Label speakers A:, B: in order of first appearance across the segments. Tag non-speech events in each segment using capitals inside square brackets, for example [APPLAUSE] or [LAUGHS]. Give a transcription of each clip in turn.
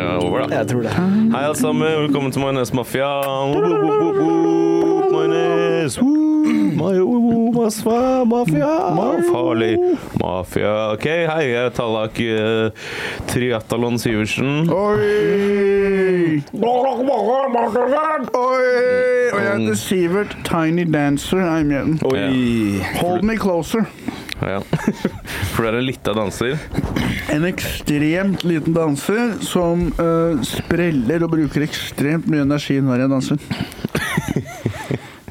A: jeg tror det.
B: Hei, alle sammen. Velkommen til Majones Mafia. Majones. Majones Mafia. Farlig mafia. OK, hei. Jeg er Tallak eh, Triatalon Syversen.
C: Oi! Oi! Og jeg heter Sivert Tiny Dancer. I'm young.
A: Oi.
C: Hold me closer.
B: Ja. [LAUGHS] For du er en lita danser.
C: En ekstremt liten danser som eh, spreller og bruker ekstremt mye energi når jeg
B: [LAUGHS]
C: danser.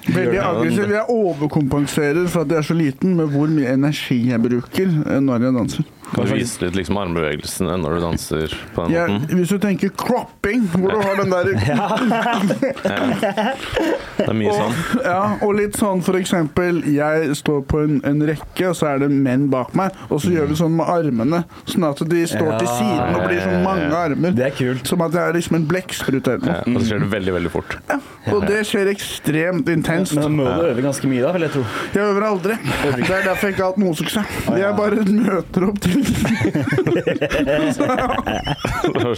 B: Gjør
C: Veldig
B: det,
C: aggressiv. Jeg overkompenserer for at jeg er så liten med hvor mye energi jeg bruker eh, når jeg danser.
B: Kan du vise litt liksom armbevegelsene når du danser på den
C: Jeg,
B: måten?
C: hvis du tenker cropping, hvor du har den
B: [LAUGHS]
C: der
B: Det er mye sånn.
C: [LAUGHS] Ja, og litt sånn for eksempel Jeg står på en, en rekke, og så er det menn bak meg. Og så gjør vi sånn med armene, sånn at de står til
A: Mm. Ja.
C: siden og blir sånn mange armer.
A: Det er kult.
C: Som at jeg er liksom en blekksprut eller
B: Ja,
C: noe.
B: og så skjer det veldig, veldig fort. [LAUGHS]
C: Og det skjer ekstremt intenst.
A: Men da må du øve ganske mye, da, vil jeg tro.
C: Jeg øver aldri. Det er derfor jeg ikke har hatt noe suksess. Jeg bare møter opp til
B: Det er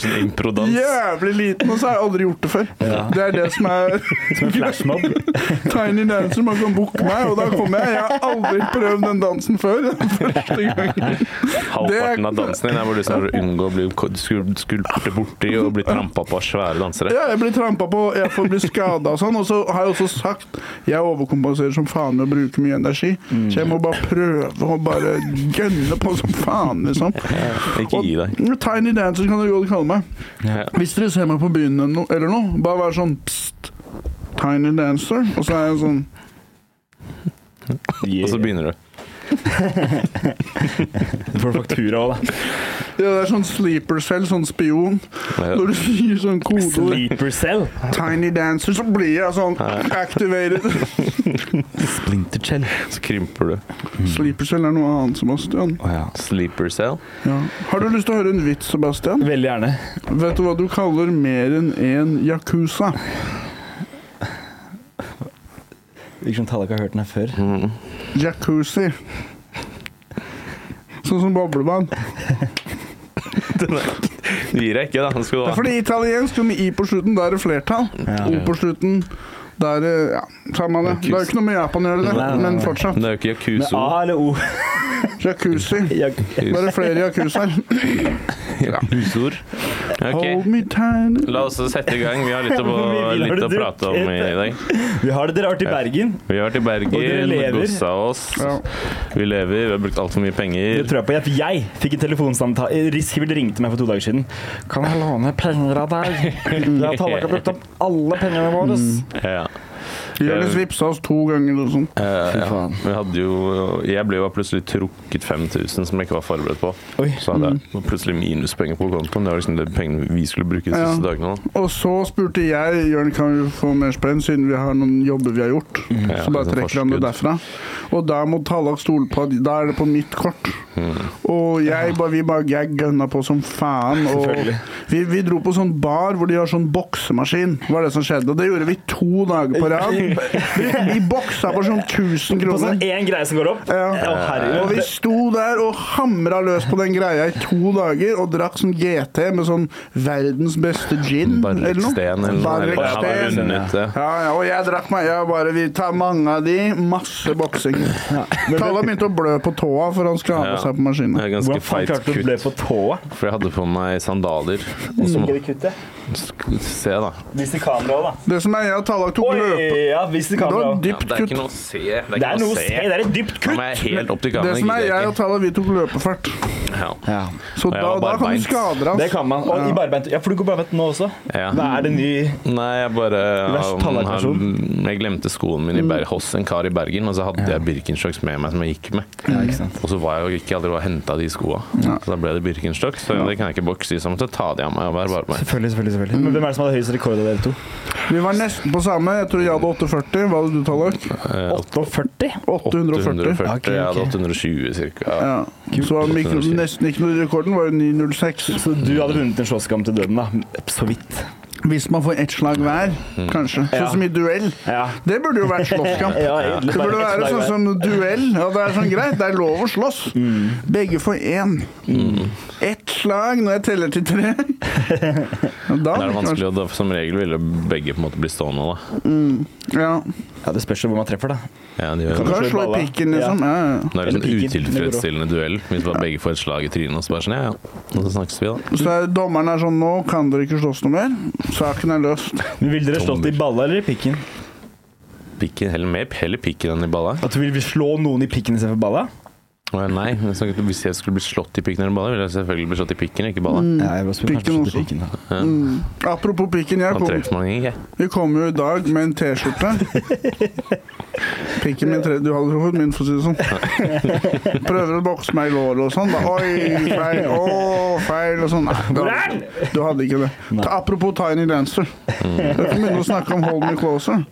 B: sånn improdans.
C: jævlig liten, og så har jeg aldri gjort det før. Det er det som er
A: [LAUGHS] Som en [LAUGHS] flashmob.
C: [LAUGHS] Tiny dancer, man kan booke meg, og da kommer jeg. Jeg har aldri prøvd den dansen før. [LAUGHS] Første gang.
B: Halvparten av dansen din er hvor du
A: [LAUGHS]
B: snakker unngå å bli ko- skul- skulpte borti og bli trampa på av svære dansere.
C: Ja, jeg blir trampa på, jeg får bli skada og sånn. Og så har jeg også sagt jeg overkompenserer som faen med å bruke mye energi. Så jeg må
B: Mm.
C: bare prøve å bare gønne på som faen,
B: [LAUGHS]
C: liksom.
B: Ikke gi deg.
C: Og Mm, Tiny dancer kan dere godt kalle meg.
B: Ja.
C: Hvis dere ser meg på byen eller no- eller noe, bare vær sånn pst, Tiny dancer. Og så er jeg sånn
B: Og så begynner du.
A: Du får faktura òg, da.
C: Ja, det er sånn sleeper cell, sånn spion.
B: Ja.
C: Når du sier sånn kodeord
A: Sleeper cell.
C: Tiny dancer, så blir jeg sånn activated.
B: [LAUGHS]
A: Splinter cell.
B: Så krymper du.
C: Sleeper cell er noe annet, Sebastian.
B: Sleeper cell.
C: Ja. Har du lyst til å høre en vits, Sebastian?
A: Veldig gjerne.
C: Vet du hva du kaller mer enn én yakuza?
A: Virker som Tallak har hørt den her før.
C: Jacuzzi. Sånn som boblebad.
B: Du gir deg ikke, da. Den skal du
C: Det er
B: ha.
C: fordi italiensk jo med i på slutten, da er det flertall.
A: Ja.
C: O på slutten, da er det Ja, samme det. Det er jo ikke noe med Japan å gjøre det,
A: Nei, nei, nei.
C: men fortsatt.
B: Men det er jo ikke
A: Med
B: Yakuzo. [LAUGHS]
A: A eller O?
C: Jacuzzi.
A: [LAUGHS] Jeg,
C: Da er det flere yakuzaer.
B: Yakuzoer.
C: Hold
B: Ok.
C: me tight.
B: La oss sette i gang. Vi har litt å,
A: [LAUGHS] Hvor mye vin har
B: litt å
A: du
B: prate om i
A: drukket?
B: dag.
A: vi har det. Dere har vært i Bergen.
B: Vi har vært i
A: Og dere
B: Bergen,
A: lever.
B: gossa oss.
C: Ja.
B: Vi lever. Vi har brukt altfor mye
A: Det
B: penger.
A: tror jeg på. Jeg, for jeg fikk en telefonsamtale eh, Riskild ringte meg for to dager siden. Kan jeg låne penger av deg? Jeg har ikke brukt opp alle pengene våre.
B: Ja.
C: Jonis vippsa oss to ganger og sånn.
B: Eh, ja.
A: faen.
B: Vi hadde jo Jeg ble jo plutselig trukket 5000 som jeg ikke var forberedt på.
A: Oi.
B: Så hadde
C: Mm.
B: jeg plutselig minuspenger på kontoen. Det var liksom det pengene vi skulle bruke de siste
C: Ja.
B: dagene. da.
C: Og så spurte jeg Jørn kan vi få mer spenn, siden vi har noen jobber vi har gjort.
B: Ja,
C: Så bare
B: sånn
C: trekker han det
B: forskudd.
C: derfra. Og da må Tallak stole på at da er det på mitt kort.
B: Mm.
C: Og jeg bare, vi bare jeg gønna på som faen. Og vi, vi dro på sånn bar hvor de har sånn boksemaskin, var det som skjedde. Og det gjorde vi to dager på
B: [LAUGHS]
C: rad. Vi, vi boksa for sånn 1000
A: På
C: kroner.
A: sånn én greie som går opp?
C: Ja.
A: Å,
C: Og vi
A: herregud.
C: sto der og hamra løs på den greia i to dager og drakk sånn GT med sånn verdens beste gin. Mm. eller noe.
B: Barreksten eller noe.
C: Barreksten.
B: Jeg hadde vunnet det.
C: Ja, ja, og jeg drakk meg Jeg bare Vi tar mange av de. Masse boksing. Talla begynte å blø på tåa, for han skulle ha med
B: Ja.
C: seg på maskinen.
B: Det er ganske
A: Hvordan faen
B: feit
A: klarte du å bli
B: kutt.
A: på tåa?
B: For jeg hadde på meg sandaler. Og så må
A: Ligger det kuttet?
B: Se, da.
A: Vis til kameraet, da.
C: Det som er jeg og Tallak tok
A: Oi,
C: løpe...
A: ja, vis til
C: Det var
A: kameraet.
B: Ja,
C: dypt
B: det er
C: kutt.
B: ikke noe å se. Det er
A: Det
B: ikke
A: er
B: noe
A: noe
B: å
A: se.
B: se.
A: Det er et dypt
B: Nå
A: kutt.
B: må jeg helt opp til
C: Det som
B: kameraet.
C: er
B: gidder
C: jeg
B: jeg
C: og Tallak, vi tok løpefart.
B: ikke. Ja.
A: Ja.
C: Så
B: Og jeg
C: da,
B: var
C: da kan
B: barbeint.
C: du skade
A: Det
C: deg.
A: kan man. Og i barbeint. Ja, for du går barbeint nå også.
B: Ja.
A: Hva er det nye
B: Nei, jeg bare um,
A: Verst tallerkenperson.
B: Jeg glemte skoen min i Ber hos en kar i Bergen, og så hadde jeg Birkenstocks med meg som jeg gikk med. Og så var jeg jo ikke aldri og henta de skoa, så da ble det Birkenstocks. Så det kan jeg ikke bokse i, så jeg måtte ta de av meg og være bare med.
A: Selvfølgelig, selvfølgelig. selvfølgelig. Men hvem er det som hadde høyest rekord av dere to?
C: Vi var nesten på samme. Jeg tror jeg hadde 48. Hva hadde du, Tallak?
B: Eh,
A: 48?
C: 840.
B: 840.
A: Ok, ok.
B: Jeg hadde 820 ca.
C: Ja. Så var mikro, nesten ikke noe rekorden var jo 906.
A: Så du hadde vunnet en slåsskamp til døden, da? Så vidt.
C: Hvis man får ett slag hver, kanskje.
A: Ja.
C: Sånn som i duell.
A: Ja.
C: Det burde jo vært slåsskamp.
A: [LAUGHS] Ja, egentlig
C: det burde
A: bare ett
C: være
A: slag
C: sånn
A: hver.
C: som
A: Mm.
C: duell. Ja, det er sånn greit, det er lov å slåss. Begge får én. Ett slag når jeg teller til
A: [LAUGHS]
C: tre. Ja, Da
B: Men det er det
C: hadde det
B: vanskelig, og da, som regel ville begge på en måte bli stående da.
C: vært- Ja.
A: Ja, Det spørs jo hvor man treffer, da.
B: Ja, de gjør
C: Du
B: det.
A: Kanskje
C: kan jo slå i
A: balla.
C: pikken, liksom. Ja, ja. ja.
B: Det er liksom
A: Eller piken.
B: utilfredsstillende duell hvis bare begge får et slag i trynet. Og så bare sånn, ja, ja. Og så snakkes vi, da.
C: Så er, dommeren er sånn Nå kan dere ikke slåss noe mer. Saken er løst.
A: Men Ville dere slått i balla eller i pikken?
B: Pikken, heller mer heller pikken enn i balla.
A: At du vil slå noen i pikken istedenfor balla?
B: Å, ja, nei, men så- hvis jeg skulle bli slått i pikken eller balla, ville jeg selvfølgelig bli slått i pikken, ikke i balla.
A: Ja, jeg vil også
C: Mm. Pikken
A: kanskje slått i
C: også.
A: pikken, da.
C: Apropos pikken. Jeg
B: Da
C: kom,
B: treffer man ikke.
C: vi kom jo i dag med en T-skjorte. Pikken min tre, Du hadde fått min, for å si det sånn. Prøver å bokse meg i låret og sånn. da. Oi, feil. Å, feil. Og sånn. Nei, du hadde, du hadde ikke det.
A: Nei.
C: Ta, apropos Tiny Dancer. Jeg kan begynne å snakke om Hold Me Closer.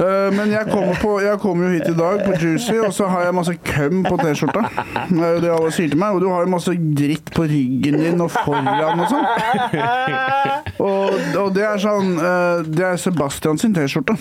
C: Eh, men jeg kommer, på, jeg kommer jo hit i dag på Juicy, og så har jeg masse køm på T-skjorta. Eh, Det er jo det alle sier til meg. Og du har jo masse dritt på ryggen din og foran og sånn. Og, og det er sånn eh, Det er Sebastian sin T-skjorte.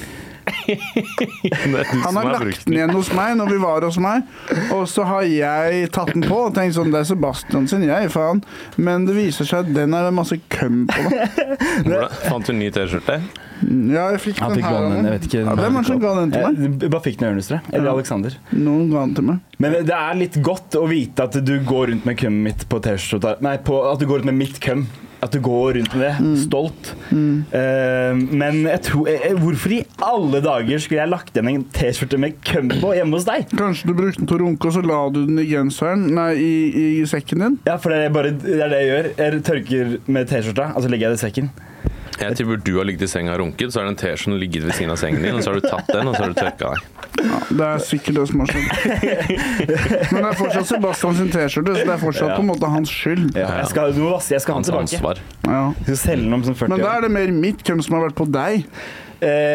C: Han har lagt den igjen hos meg når vi var hos meg, og så har jeg tatt den på og tenkt sånn Det er Sebastian sin, jeg, faen. Men det viser seg at den er det masse køm på. Da.
B: Hvordan fant du en ny T-skjorte?
C: Ja, jeg fikk
A: Han
C: den
A: fikk
C: her.
A: vann,
C: Anne.
A: jeg vet ikke.
C: ja, hvem er det som ga den til meg?
A: Jeg bare fikk den i ørnestrøet. Eller Alexander.
C: Noen ga den til meg.
A: Men det er litt godt å vite at du går rundt med kømmet mitt på T-skjorta Nei, på, at du går rundt med mitt køm. At du går rundt med det,
C: Mm.
A: stolt. Eh, men jeg tror eh, eh, Hvorfor i alle dager skulle jeg lagt igjen en T-skjorte med køm på hjemme hos deg?
C: Kanskje du brukte den til å runke, og så la du den i genseren Nei, i, i sekken din?
A: Ja, for det er, bare, det er det jeg gjør. Jeg tørker med T-skjorta, og så legger jeg det i sekken.
B: Jeg tipper du har ligget i senga og runket, så er det en T-skjorte som ligger ved siden av sengen din, og så har du tatt den, og så har du tørka deg.
C: Ja, det er sikkert det som har skjedd. Men det er fortsatt Sebastian sin T-skjorte, så det er fortsatt på en måte hans skyld.
A: Ja, jeg skal, du må vaske, jeg skal ha den
B: Hans
A: tilbake.
B: ansvar.
C: Ja.
A: Jeg skal selge den om sånn 40
C: Men da
A: år.
C: er det mer mitt hvem som har vært på deg.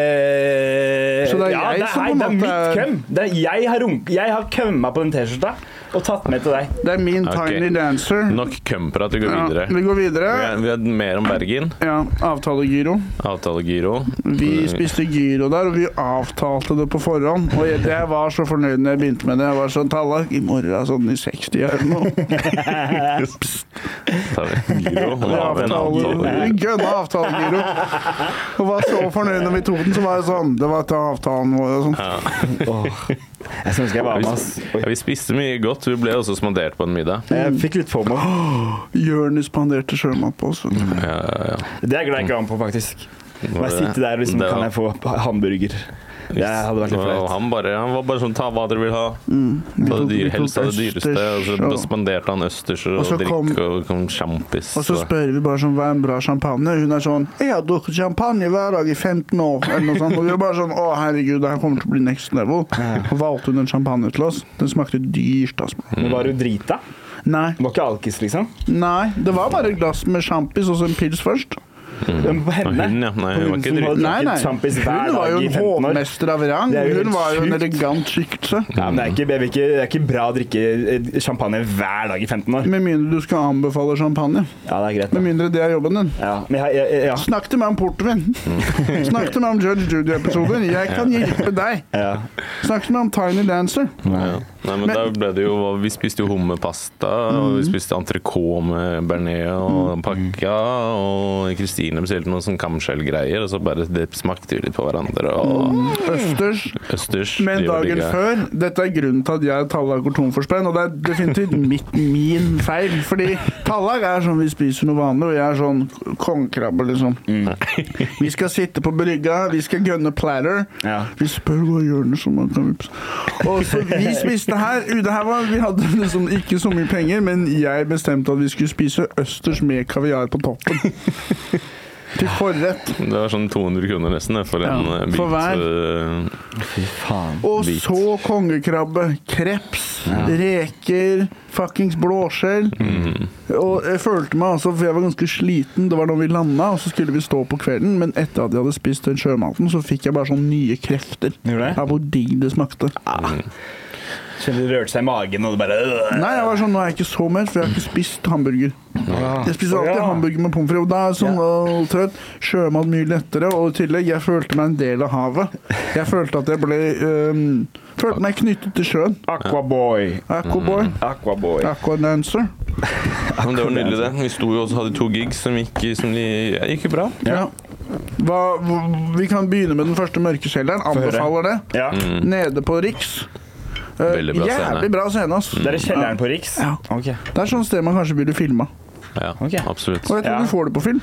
A: Eh,
C: Så det er
A: ja,
C: jeg
A: det er,
C: som på en
A: det er
C: måte
A: mitt
C: er-
A: køm. Det er, jeg har, runk- jeg har kømma på den T-skjorta og tatt med til deg.
C: Det er min
B: Ok.
C: tiny dancer.
B: Nok kømper at vi går
C: Ja,
B: videre.
C: vi går videre.
B: Vi har- Vi har mer om Bergen.
C: Ja, avtalegiro.
B: Avtalegiro. Mm.
C: Vi spiste gyro der, og vi avtalte det på forhånd. Og jeg, jeg var så fornøyd når jeg begynte med det. Jeg var sånn Tallak, i morgen sånn i 60 eller noe.
B: Tar vi gyro.
C: Vi
B: Nå har vi en
C: avtaler-
B: avtale.
C: vi gønna avtalegiro. Og var så fornøyd når vi tok den, så var jeg sånn Det var etter avtalen vår og sånn.
A: Jeg skulle ønske jeg var med, ass.
B: Vi- Ja, vi spiste mye godt. Vi ble også spandert på en middag.
A: Jeg fikk litt FOMO.
C: Jørnis spanderte sjømat på oss. vet du.
B: Ja, ja, ja.
A: Det er glad jeg ikke var med på, faktisk.
B: Var
A: Bare
B: det-
A: sitte der og liksom
B: det var-
A: Kan jeg få hamburger? Det hadde vært litt
B: Og
A: flaut.
B: han, bare, han var bare sånn Ta hva dere vil ha.
C: Mm.
B: Ta det dyre, helst av det dyreste. Og så
C: Østers,
B: da
C: og-
B: spanderte han østers og,
C: Og så
B: drikk
C: kom-
B: og kom sjampis.
C: Og så spør vi bare sånn, hva er en bra champagne? Hun er sånn 'Jeg har drukket champagne hver dag i 15 år', eller noe sånt. Og vi er bare sånn 'Å, herregud, det her kommer til å bli next level'. Og valgte hun en champagne til oss. Den smakte dyrt, altså.
A: Men var du drita?
C: Nei.
A: Var ikke alkis, liksom?
C: Nei, det var bare et glass med sjampis og så en pils først.
A: Men Mm. på henne?
B: hun, ja. Nei,
A: På
B: hun var ikke
A: som
B: drita.
A: hadde
C: Nei,
A: drukket
C: nei.
A: sjampis hver
C: Hun var jo
A: dag i
C: en
A: 15 år.
C: hovmester av rang.
A: Det er jo
C: Hun
A: helt
C: var jo en
A: sjukt.
C: elegant skikkelse.
A: Ja, men det er, ikke, det, er ikke, det er ikke bra å drikke eh, champagne hver dag i 15 år.
C: Med mindre du skal anbefale champagne.
A: Ja, det er greit.
C: Med
A: Da.
C: mindre det er jobben din.
A: Ja, men jeg, jeg, jeg, ja.
C: Snakk til meg om
A: [LAUGHS]
C: portvin. Snakk til meg om Judge Judy-episoder. Jeg kan hjelpe deg.
A: Ja.
C: Snakk til meg om Tiny Dancer.
B: Ja. Nei, men,
C: Men- Mm.
B: da ble det jo Vi spiste jo hummerpasta, og vi spiste entrecôte med bearnés og pakka, og Kristine bestilte noen sånn kamskjellgreier, og så bare det smakte vi litt på hverandre, og
C: Østers.
B: østers
C: Mm. Men
B: de var
C: dagen
B: digge.
C: før Dette er grunnen til at jeg og Tallak går tom for spenn, og det er definitivt mitt, min feil. Fordi Tallak er sånn vi spiser noe vanlig, og jeg er sånn kongekrabbe, liksom. Vi skal sitte på brygga, vi skal gønne platter.
A: Ja.
C: Vi spør hva Jonis som man kan vippse. Og så vi spiste her. u, Det her var, vi hadde liksom ikke så mye penger, men jeg bestemte at vi skulle spise østers med kaviar på toppen. Til forrett.
B: Det var sånn 200 kroner nesten det, for
C: Ja,
B: en eh, bit.
C: for hver.
B: eh,
A: Fy faen.
C: Og
B: Hvit.
C: så kongekrabbe, kreps, reker, fuckings blåskjell.
A: Mm.
C: Og jeg følte meg altså, for jeg var ganske sliten, det var når vi landa, og så skulle vi stå på kvelden, men etter at jeg hadde spist den sjømaten, så fikk jeg bare sånn nye krefter.
A: Gjorde det?
C: Av hvor digg det smakte.
B: mm.
A: Kjente det rørte seg i magen, og det bare
C: Nei, jeg var sånn, nå er jeg ikke så mett, for jeg har ikke spist hamburger. Jeg spiser alltid
A: Ja.
C: hamburger med pommes frites, og da er jeg sånn åh, trøtt. Sjømat mye lettere, og i tillegg, jeg følte meg en del av havet. Jeg følte at jeg ble øhm, Følte meg knyttet til sjøen.
A: Aquaboy.
C: Aquaboy.
A: Aquaboy.
C: Aquadancer.
B: Men det var nydelig, det. Vi sto jo også hadde to gigs som gikk, som de, ja, gikk jo bra.
C: Ja. Hva, hv- vi kan begynne med den første mørkekjelleren.
A: høre.
C: Anbefaler det.
A: Ja.
C: Nede på Riks. Eh,
B: Veldig bra scene.
C: Jævlig bra scene, ass.
A: Det er i kjelleren på Riks?
C: Mm. Ja.
A: Ok.
C: Det er sånn sted man kanskje burde filma.
B: Ja,
A: Ok.
B: absolutt.
C: Og jeg tror
A: Ja.
C: du får det på film.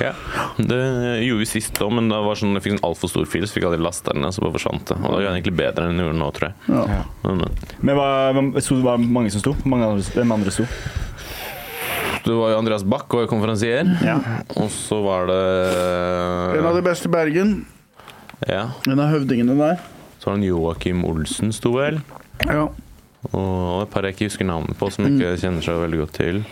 B: Ja. Det gjorde vi sist òg, men da var sånn, jeg fikk en altfor stor fil, så fikk jeg aldri lasta den ned, så bare forsvant det. Og det er egentlig bedre enn den gjorde nå, tror jeg.
C: Ja.
B: Men, men.
A: Men hva- hva- så det var mange som sto? Mange andre, hvem andre sto?
B: Det var jo Andreas Bach var jo konferansier,
A: Ja.
B: og så var
C: En av
B: det
C: de beste i Bergen.
B: Ja.
C: En av høvdingene der.
B: Så var det en Joakim Olsen, sto vel.
C: Ja.
B: Og et par jeg ikke husker navnet på, som ikke kjenner seg veldig godt til.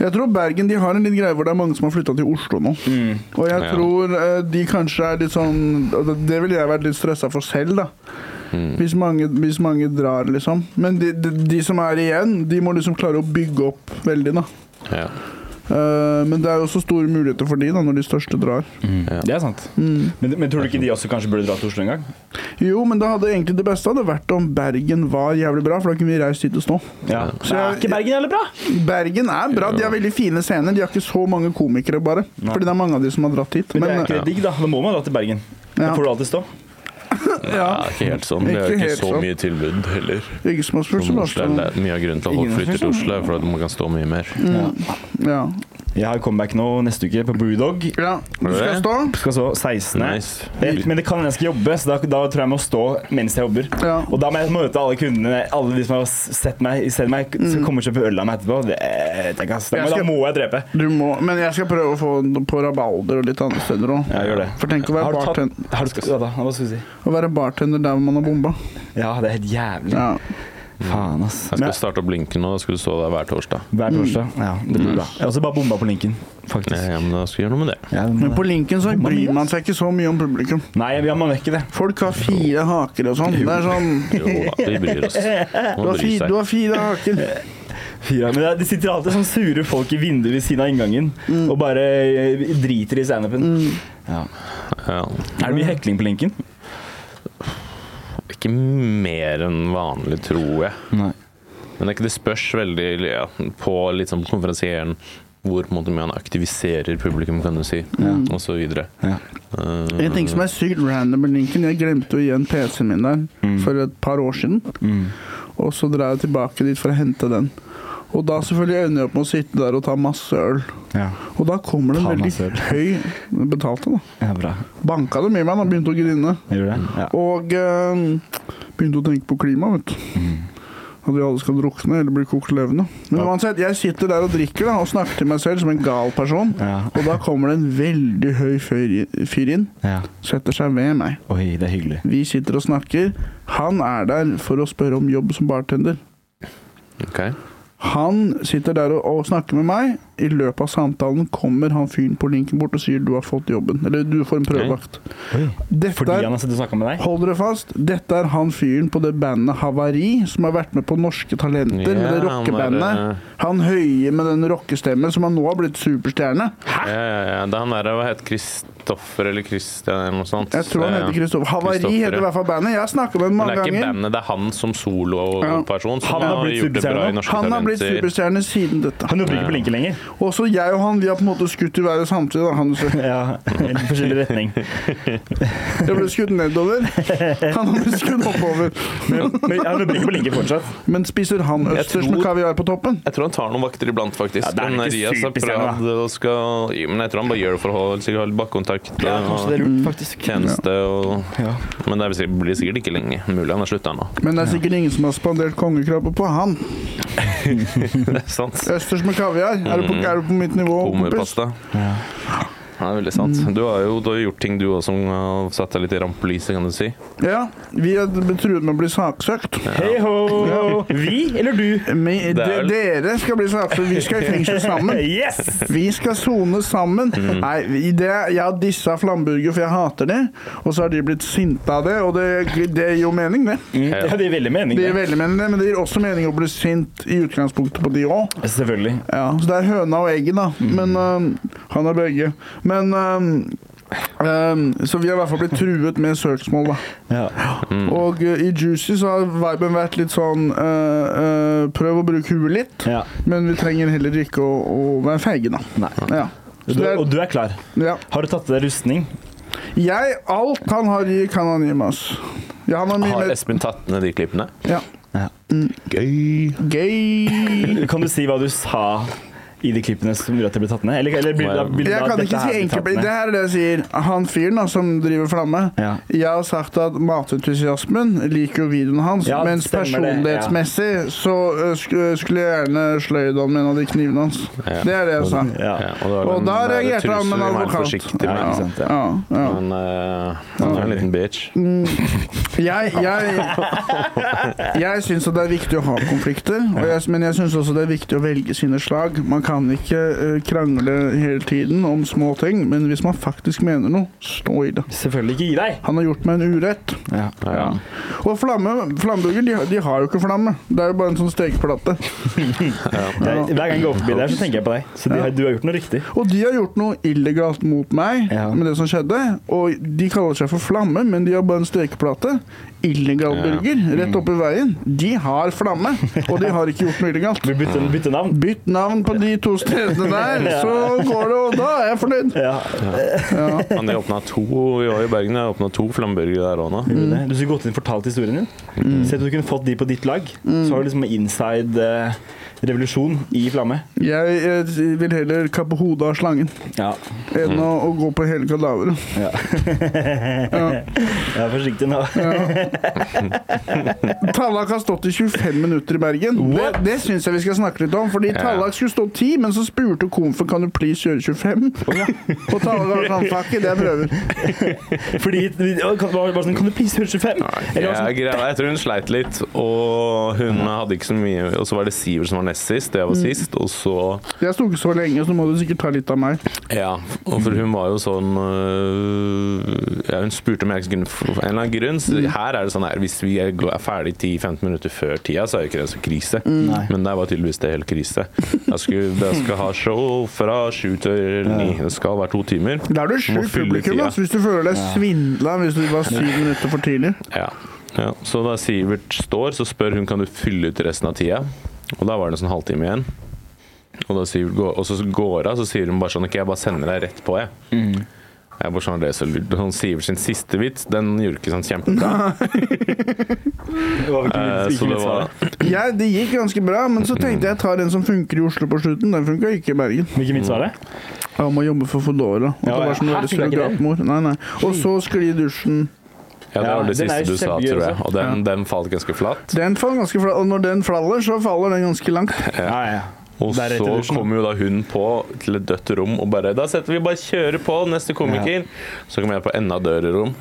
C: Jeg tror Bergen de har en litt greie hvor det er mange som har flytta til Oslo nå.
A: Mm.
C: Og jeg
B: Ja.
C: tror eh, de kanskje er litt sånn Det ville jeg vært litt stressa for selv, da. Hvis, mange, hvis mange drar, liksom. Men de, de, de som er igjen, de må liksom klare å bygge opp veldig, da.
B: Ja.
C: Eh, men det er jo også store muligheter for de da, når de største drar.
B: Ja.
A: Det er sant.
C: Mm.
A: Men, men tror du ikke de også kanskje burde dra til Oslo en gang?
C: Jo, men det hadde egentlig det beste hadde vært om Bergen var jævlig bra, for da kunne vi reist dit og stå.
A: Ja.
C: Så jeg-
A: er ikke Bergen heller bra?
C: Bergen er bra, de har veldig fine scener. De har ikke så mange komikere, bare.
A: Nei.
C: Fordi det er mange av de som har dratt hit.
A: Men, det er
C: Men,
A: ikke digg, da. Da må man dra til Bergen. Da
C: Ja.
A: får du alltid stå.
C: ja,
B: Ja, ikke helt sånn. Det er jo
C: Ikke
B: ikke
C: helt
B: så
C: sånn.
B: mye tilbud heller.
C: ikke som har spurt så
B: Som
C: mye.
B: Oslo, det er mye av grunnen til at folk
A: Ingen
B: flytter til Oslo, er for at man kan stå mye mer.
C: Ja.
A: Jeg har comeback nå neste uke på Brewdog.
C: ja. Du
B: det
C: skal
B: det?
C: stå?
A: Skal så 16.
B: Nice.
A: Eh, Men det kan hende jeg skal jobbe, så da, da tror jeg jeg må stå mens jeg jobber.
C: Ja.
A: Og da må jeg møte alle kundene, alle de som har s- sett meg, sett meg som kommer og kjøper øl av meg etterpå. Det, det kan,
C: Mm.
A: da,
C: Jeg
A: må,
C: skal-
A: da må jeg drepe.
C: Du må, men jeg skal prøve å få den på rabalder og litt andre steder òg.
A: Ja, gjør det.
C: For tenk å være,
A: Har du tatt
C: bartender,
A: har du, ja, da, Hva skal du si?
C: å være bartender der hvor man har bomba.
A: Ja, det er helt jævlig.
C: Ja.
A: Faen, ass.
B: Jeg
A: Men,
B: skal starte opp Linken nå, da skal du stå der hver torsdag.
A: hver torsdag. Ja, det blir bra. Jeg har også bare bomba på linken, faktisk.
B: Ja, men da skal vi gjøre noe med det.
A: Ja, det må
C: Men
A: det.
C: på Lincoln så bryr man seg ikke så mye om publikum.
A: Nei, ja, man gjør ikke det.
C: Folk har fire haker og sånn. Det er sånn
B: Jo da, vi bryr
C: [LAUGHS]
B: oss.
C: du
B: Man
C: har,
B: bryr
C: fire,
B: seg.
C: du har fire haker.
A: Fire, men det, er- det sitter alltid sånn sure folk i vinduet ved siden av inngangen
C: Mm.
A: og bare eh, driter i standupen. Ja.
B: Ja.
A: Er det mye hekling på linken?
B: Ikke mer enn vanlig, tror jeg.
A: Nei.
B: Men det, er ikke, det spørs veldig ja, på litt sånn på konferansieren hvor på en måte mye han aktiviserer publikum, kan du si, og så videre.
A: Ja.
B: Eh,
C: En ting som er sykt random med Lincoln Jeg glemte å gi en PC-en min der for et par år siden.
A: Mm.
C: Og så drar jeg tilbake dit for å hente den. Og da selvfølgelig ender jeg opp med å sitte der og ta masse øl.
A: Ja.
C: Og da kommer det en
A: Ta
C: veldig
A: masse øl.
C: høy Betalte, da.
A: ja, bra.
C: Banka det med meg, da. Begynte å grine.
A: Gjør det? Ja.
C: Og eh, begynte å tenke på klima, vet du.
A: Mm.
C: At vi alle skal drukne eller bli kokt levende. Men
A: Ja.
C: uansett, jeg sitter der og drikker da, og snakker til meg selv som en gal person.
A: Ja.
C: Og da kommer det en veldig høy fyr- fyr inn.
A: ja.
C: Setter seg ved meg.
A: Oi, det er hyggelig.
C: Vi sitter og snakker. Han er der for å spørre om jobb som bartender.
B: ok.
C: Han sitter der og, og snakker med meg. I løpet av samtalen kommer han fyren på linken bort og sier 'du har fått jobben'. Eller 'du får en prøvevakt'. Dette
A: Fordi
C: er,
A: han har sittet og snakka med deg?
C: hold dere fast, dette er han fyren på det bandet Havari, som har vært med på Norske Talenter,
B: Ja,
C: med det
B: han var, eh,
C: rockebandet. Han høye med den rockestemmen som han nå har blitt superstjerne.
B: Ja, ja, ja. Det er han der, hva heter Kristoffer eller Christian eller noe sånt?
C: Jeg tror han heter Kristoffer. Havari
B: Kristoffer,
C: heter
B: ja.
C: i hvert fall bandet. Jeg har snakket med ham
B: Men det
C: mange
B: er ikke
C: ganger.
B: bandet, det er han som soloperson som
A: Han har
B: har,
A: blitt
B: gjort det bra
A: superstjerne.
B: i Norske
C: Han har blitt
B: Talenter.
C: superstjerne siden dette.
A: Han jobber ikke på linken lenger.
C: Også jeg og han, vi har på en måte skutt i været samtidig. Da. Han
A: Ja, I forskjellig [LAUGHS] retning.
C: jeg ble skutt nedover, han ble skutt oppover.
A: Men, men han jobber ikke på linken fortsatt.
C: Men spiser han østers med
B: tror-
C: kaviar på toppen?
B: Jeg tror han tar noen vakter iblant, faktisk.
A: Ja, det er
B: Men
A: ikke
B: Rias har
A: superstjerne, da.
B: prøvd og skal Jo, Men jeg tror han bare gjør det for å holde- sikkert holde bakkontakt eh, og
A: lurt, faktisk.
B: tjeneste og
A: Ja.
B: Men det er sikkert- blir sikkert ikke lenge. Mulig han har slutta nå. [LAUGHS]
C: Men det er sikkert ingen som har spandert kongekrabbe på han.
B: Det er sant.
C: Østers med kaviar, er du på,
B: Mm.
C: er du på mitt nivå? kompis?
B: Hummerpasta.
A: Ja.
B: Ja, det er veldig sant.
C: Mm.
B: Du har jo du har gjort ting du også som har satt deg litt i rampelyset, kan du si.
C: Ja, vi er truet med å bli saksøkt.
A: Hei ho! Vi eller du?
B: Det
C: Men de,
B: er vel-
C: dere skal bli saksøkt, vi skal i fengsel sammen.
B: [LAUGHS]
A: Yes!
C: Vi skal sone sammen.
B: Mm.
C: Nei, i det, jeg har dissa flamburger, for jeg hater det. Og så har de blitt sinte av det, og det, det gir jo mening, det.
A: Ja, det gir veldig mening.
C: Mm. Det gir
A: det.
C: veldig mening, det, men det gir også mening å bli sint i utgangspunktet på de òg.
A: Selvfølgelig. Mm.
C: eh, Ja, så det er høna og egget, da. Men øhm, Han er begge. Men øhm, Ehm, så vi har i hvert fall blitt truet med søksmål, da.
A: Ja. Mm.
C: Og eh, i Juicy så har viben vært litt sånn eh, eh, Prøv å bruke huet litt,
A: Ja.
C: men vi trenger heller ikke å, å være feige, da.
A: Nei.
C: Ja. Så
A: Du,
C: det
A: og
C: er,
A: du er klar.
C: ja.
A: Har du tatt deg rustning?
C: Jeg Alt han har i, kan han gi meg, ass. Ja, han har mye
B: Har
C: mer
B: Espen tatt ned de klippene?
C: ja.
A: Ja.
B: Gøy.
C: Gay
A: Kan du si hva du sa i de klippene som gjorde at det ble tatt ned? Eller, eller blir det, da- blir det,
C: Jeg
A: da
C: kan ikke
A: dette her
C: si
A: blir tatt
C: enkeltblikk.
A: ned?
C: Det her er det jeg sier. Han fyren da, som driver Flamme
A: Ja.
C: Jeg har sagt at matentusiasmen liker jo videoen hans,
A: Ja,
C: mens
A: stemmer det, ja.
C: personlighetsmessig så ø, sk ø, skulle jeg gjerne sløyd om en av de knivene hans.
B: Ja.
C: Det er det jeg sa.
A: Ja.
B: Ja, og da, er
C: Og
B: den
C: da
B: der
C: reagerte han med
B: trusselen
C: en
B: er
C: advokat.
B: Forsiktig, med,
A: Ja,
B: ikke
A: ikke
B: sant?
A: sant? Ja.
C: Ja, ja. Mm,
B: Men eh, han er en liten bitch.
C: Jeg, jeg, jeg syns at det er viktig å ha konflikter, og jeg, men jeg syns også det er viktig å velge sine slag. Man kan ikke ø, krangle hele tiden om små ting, men hvis man faktisk mener noe, stå i det.
A: Selvfølgelig ikke gi deg.
C: Han har gjort meg en urett.
A: Ja.
B: Ja.
C: Og flamme, flammeburger, de, har- de har jo ikke flamme. Det er jo bare en sånn stekeplate.
A: Jeg- Hver gang jeg går forbi der, så tenker jeg på deg. Så de, har- du har gjort noe riktig.
C: Og de har gjort noe illegalt mot meg
A: Ja.
C: med det som skjedde. Og de kaller seg for flamme, men de har bare en stekeplate. Illegal
B: Ja.
C: burger rett oppi veien. De har flamme, og de har ikke gjort noe illegalt.
A: Vi bytter, bytter navn.
C: Bytt navn på de to stedene der, så går det, og da er jeg fornøyd.
A: Ja.
B: Han har åpna to vi var i Bergen. Jeg åpna to flamburgere der [LAUGHS] òg nå.
A: gjorde det. Du skulle gått inn og fortalt historien din. Se at du kunne fått de på ditt lag. Så har du liksom en inside eh, revolusjon i flamme.
C: Jeg, eh, vil heller kappe hodet av slangen
A: [LAUGHS] Ja.
C: enn å, å gå på hele kadaveret.
A: ja. Jeg er forsiktig nå.
C: [LAUGHS] Tallak har stått i 25 minutter i Bergen. Det, det syns jeg vi skal snakke litt om. Fordi Tallak skulle stå 10, men så spurte komfen kan du please kjøre 25. Og Tallak var sånn fuck it, jeg prøver.
A: Fordi å, kan, var, var sånn, kan du please høre 25? Eller var
B: Ja,
A: sånn,
B: greia, jeg tror hun sleit litt, og hun hadde ikke så mye Og så var det Sivert som var nest sist, og jeg var sist, og så
C: Jeg sto ikke så lenge, så må du sikkert ta litt av meg.
B: Ja, og for hun var jo sånn øh, ja, Hun spurte om jeg kunne få en eller annen grunn. Så her er det sånn her Hvis vi er er ferdig 10-15 minutter før tida, så er jo ikke det så krise.
A: Nei.
B: Men der var tydeligvis det helt krise. Jeg skulle, jeg skal ha show fra sju til ni. Det skal være to timer.
C: Da er du
B: Må
C: sjukt
B: fylle
C: publikum
B: tida.
C: altså, hvis du føler deg svindla hvis du var syv minutter for tidlig.
B: Ja. ja. Så da Sivert står, så spør hun kan du fylle ut resten av tida. Og da var det en sånn halvtime igjen. Og, da Sivert går, og så går hun, så sier hun bare sånn Ok, jeg bare sender deg rett på, jeg.
A: Mm.
B: Jeg bare sånn, det er så lurt. Sånn Sivert sin siste vits, den gjorde ikke sånn kjempebra.
A: det var ikke
B: Eh,
A: mitt-
B: så
A: ikke
B: det
A: mitt
B: var
A: svar.
C: Jeg, det gikk ganske bra, men så tenkte jeg jeg tar en som funker i Oslo på slutten. Den funka ikke i Bergen.
A: Hvilket mitt svar er?
C: Ja, må jobbe for Foodora. Og
A: Ja,
C: det var som å
A: ja.
C: være
A: Hæ, funker ikke det?
C: surrogatmor. Nei, nei. Og så skli i dusjen.
B: Ja, det
A: Ja,
B: var det
A: den er
B: siste
A: jo
B: du sa,
A: kjempegøy
B: tror jeg.
A: også.
B: Og den, den falt ganske flatt.
C: Den faller ganske flat, og når den faller, så faller den ganske langt.
A: Ja, ja.
B: Og
A: Det er rett i
B: så
A: dusjen.
B: kom jo da hun på til et dødt rom og bare Da setter vi bare kjører på, neste komiker. Så kom jeg på enda dødere rom.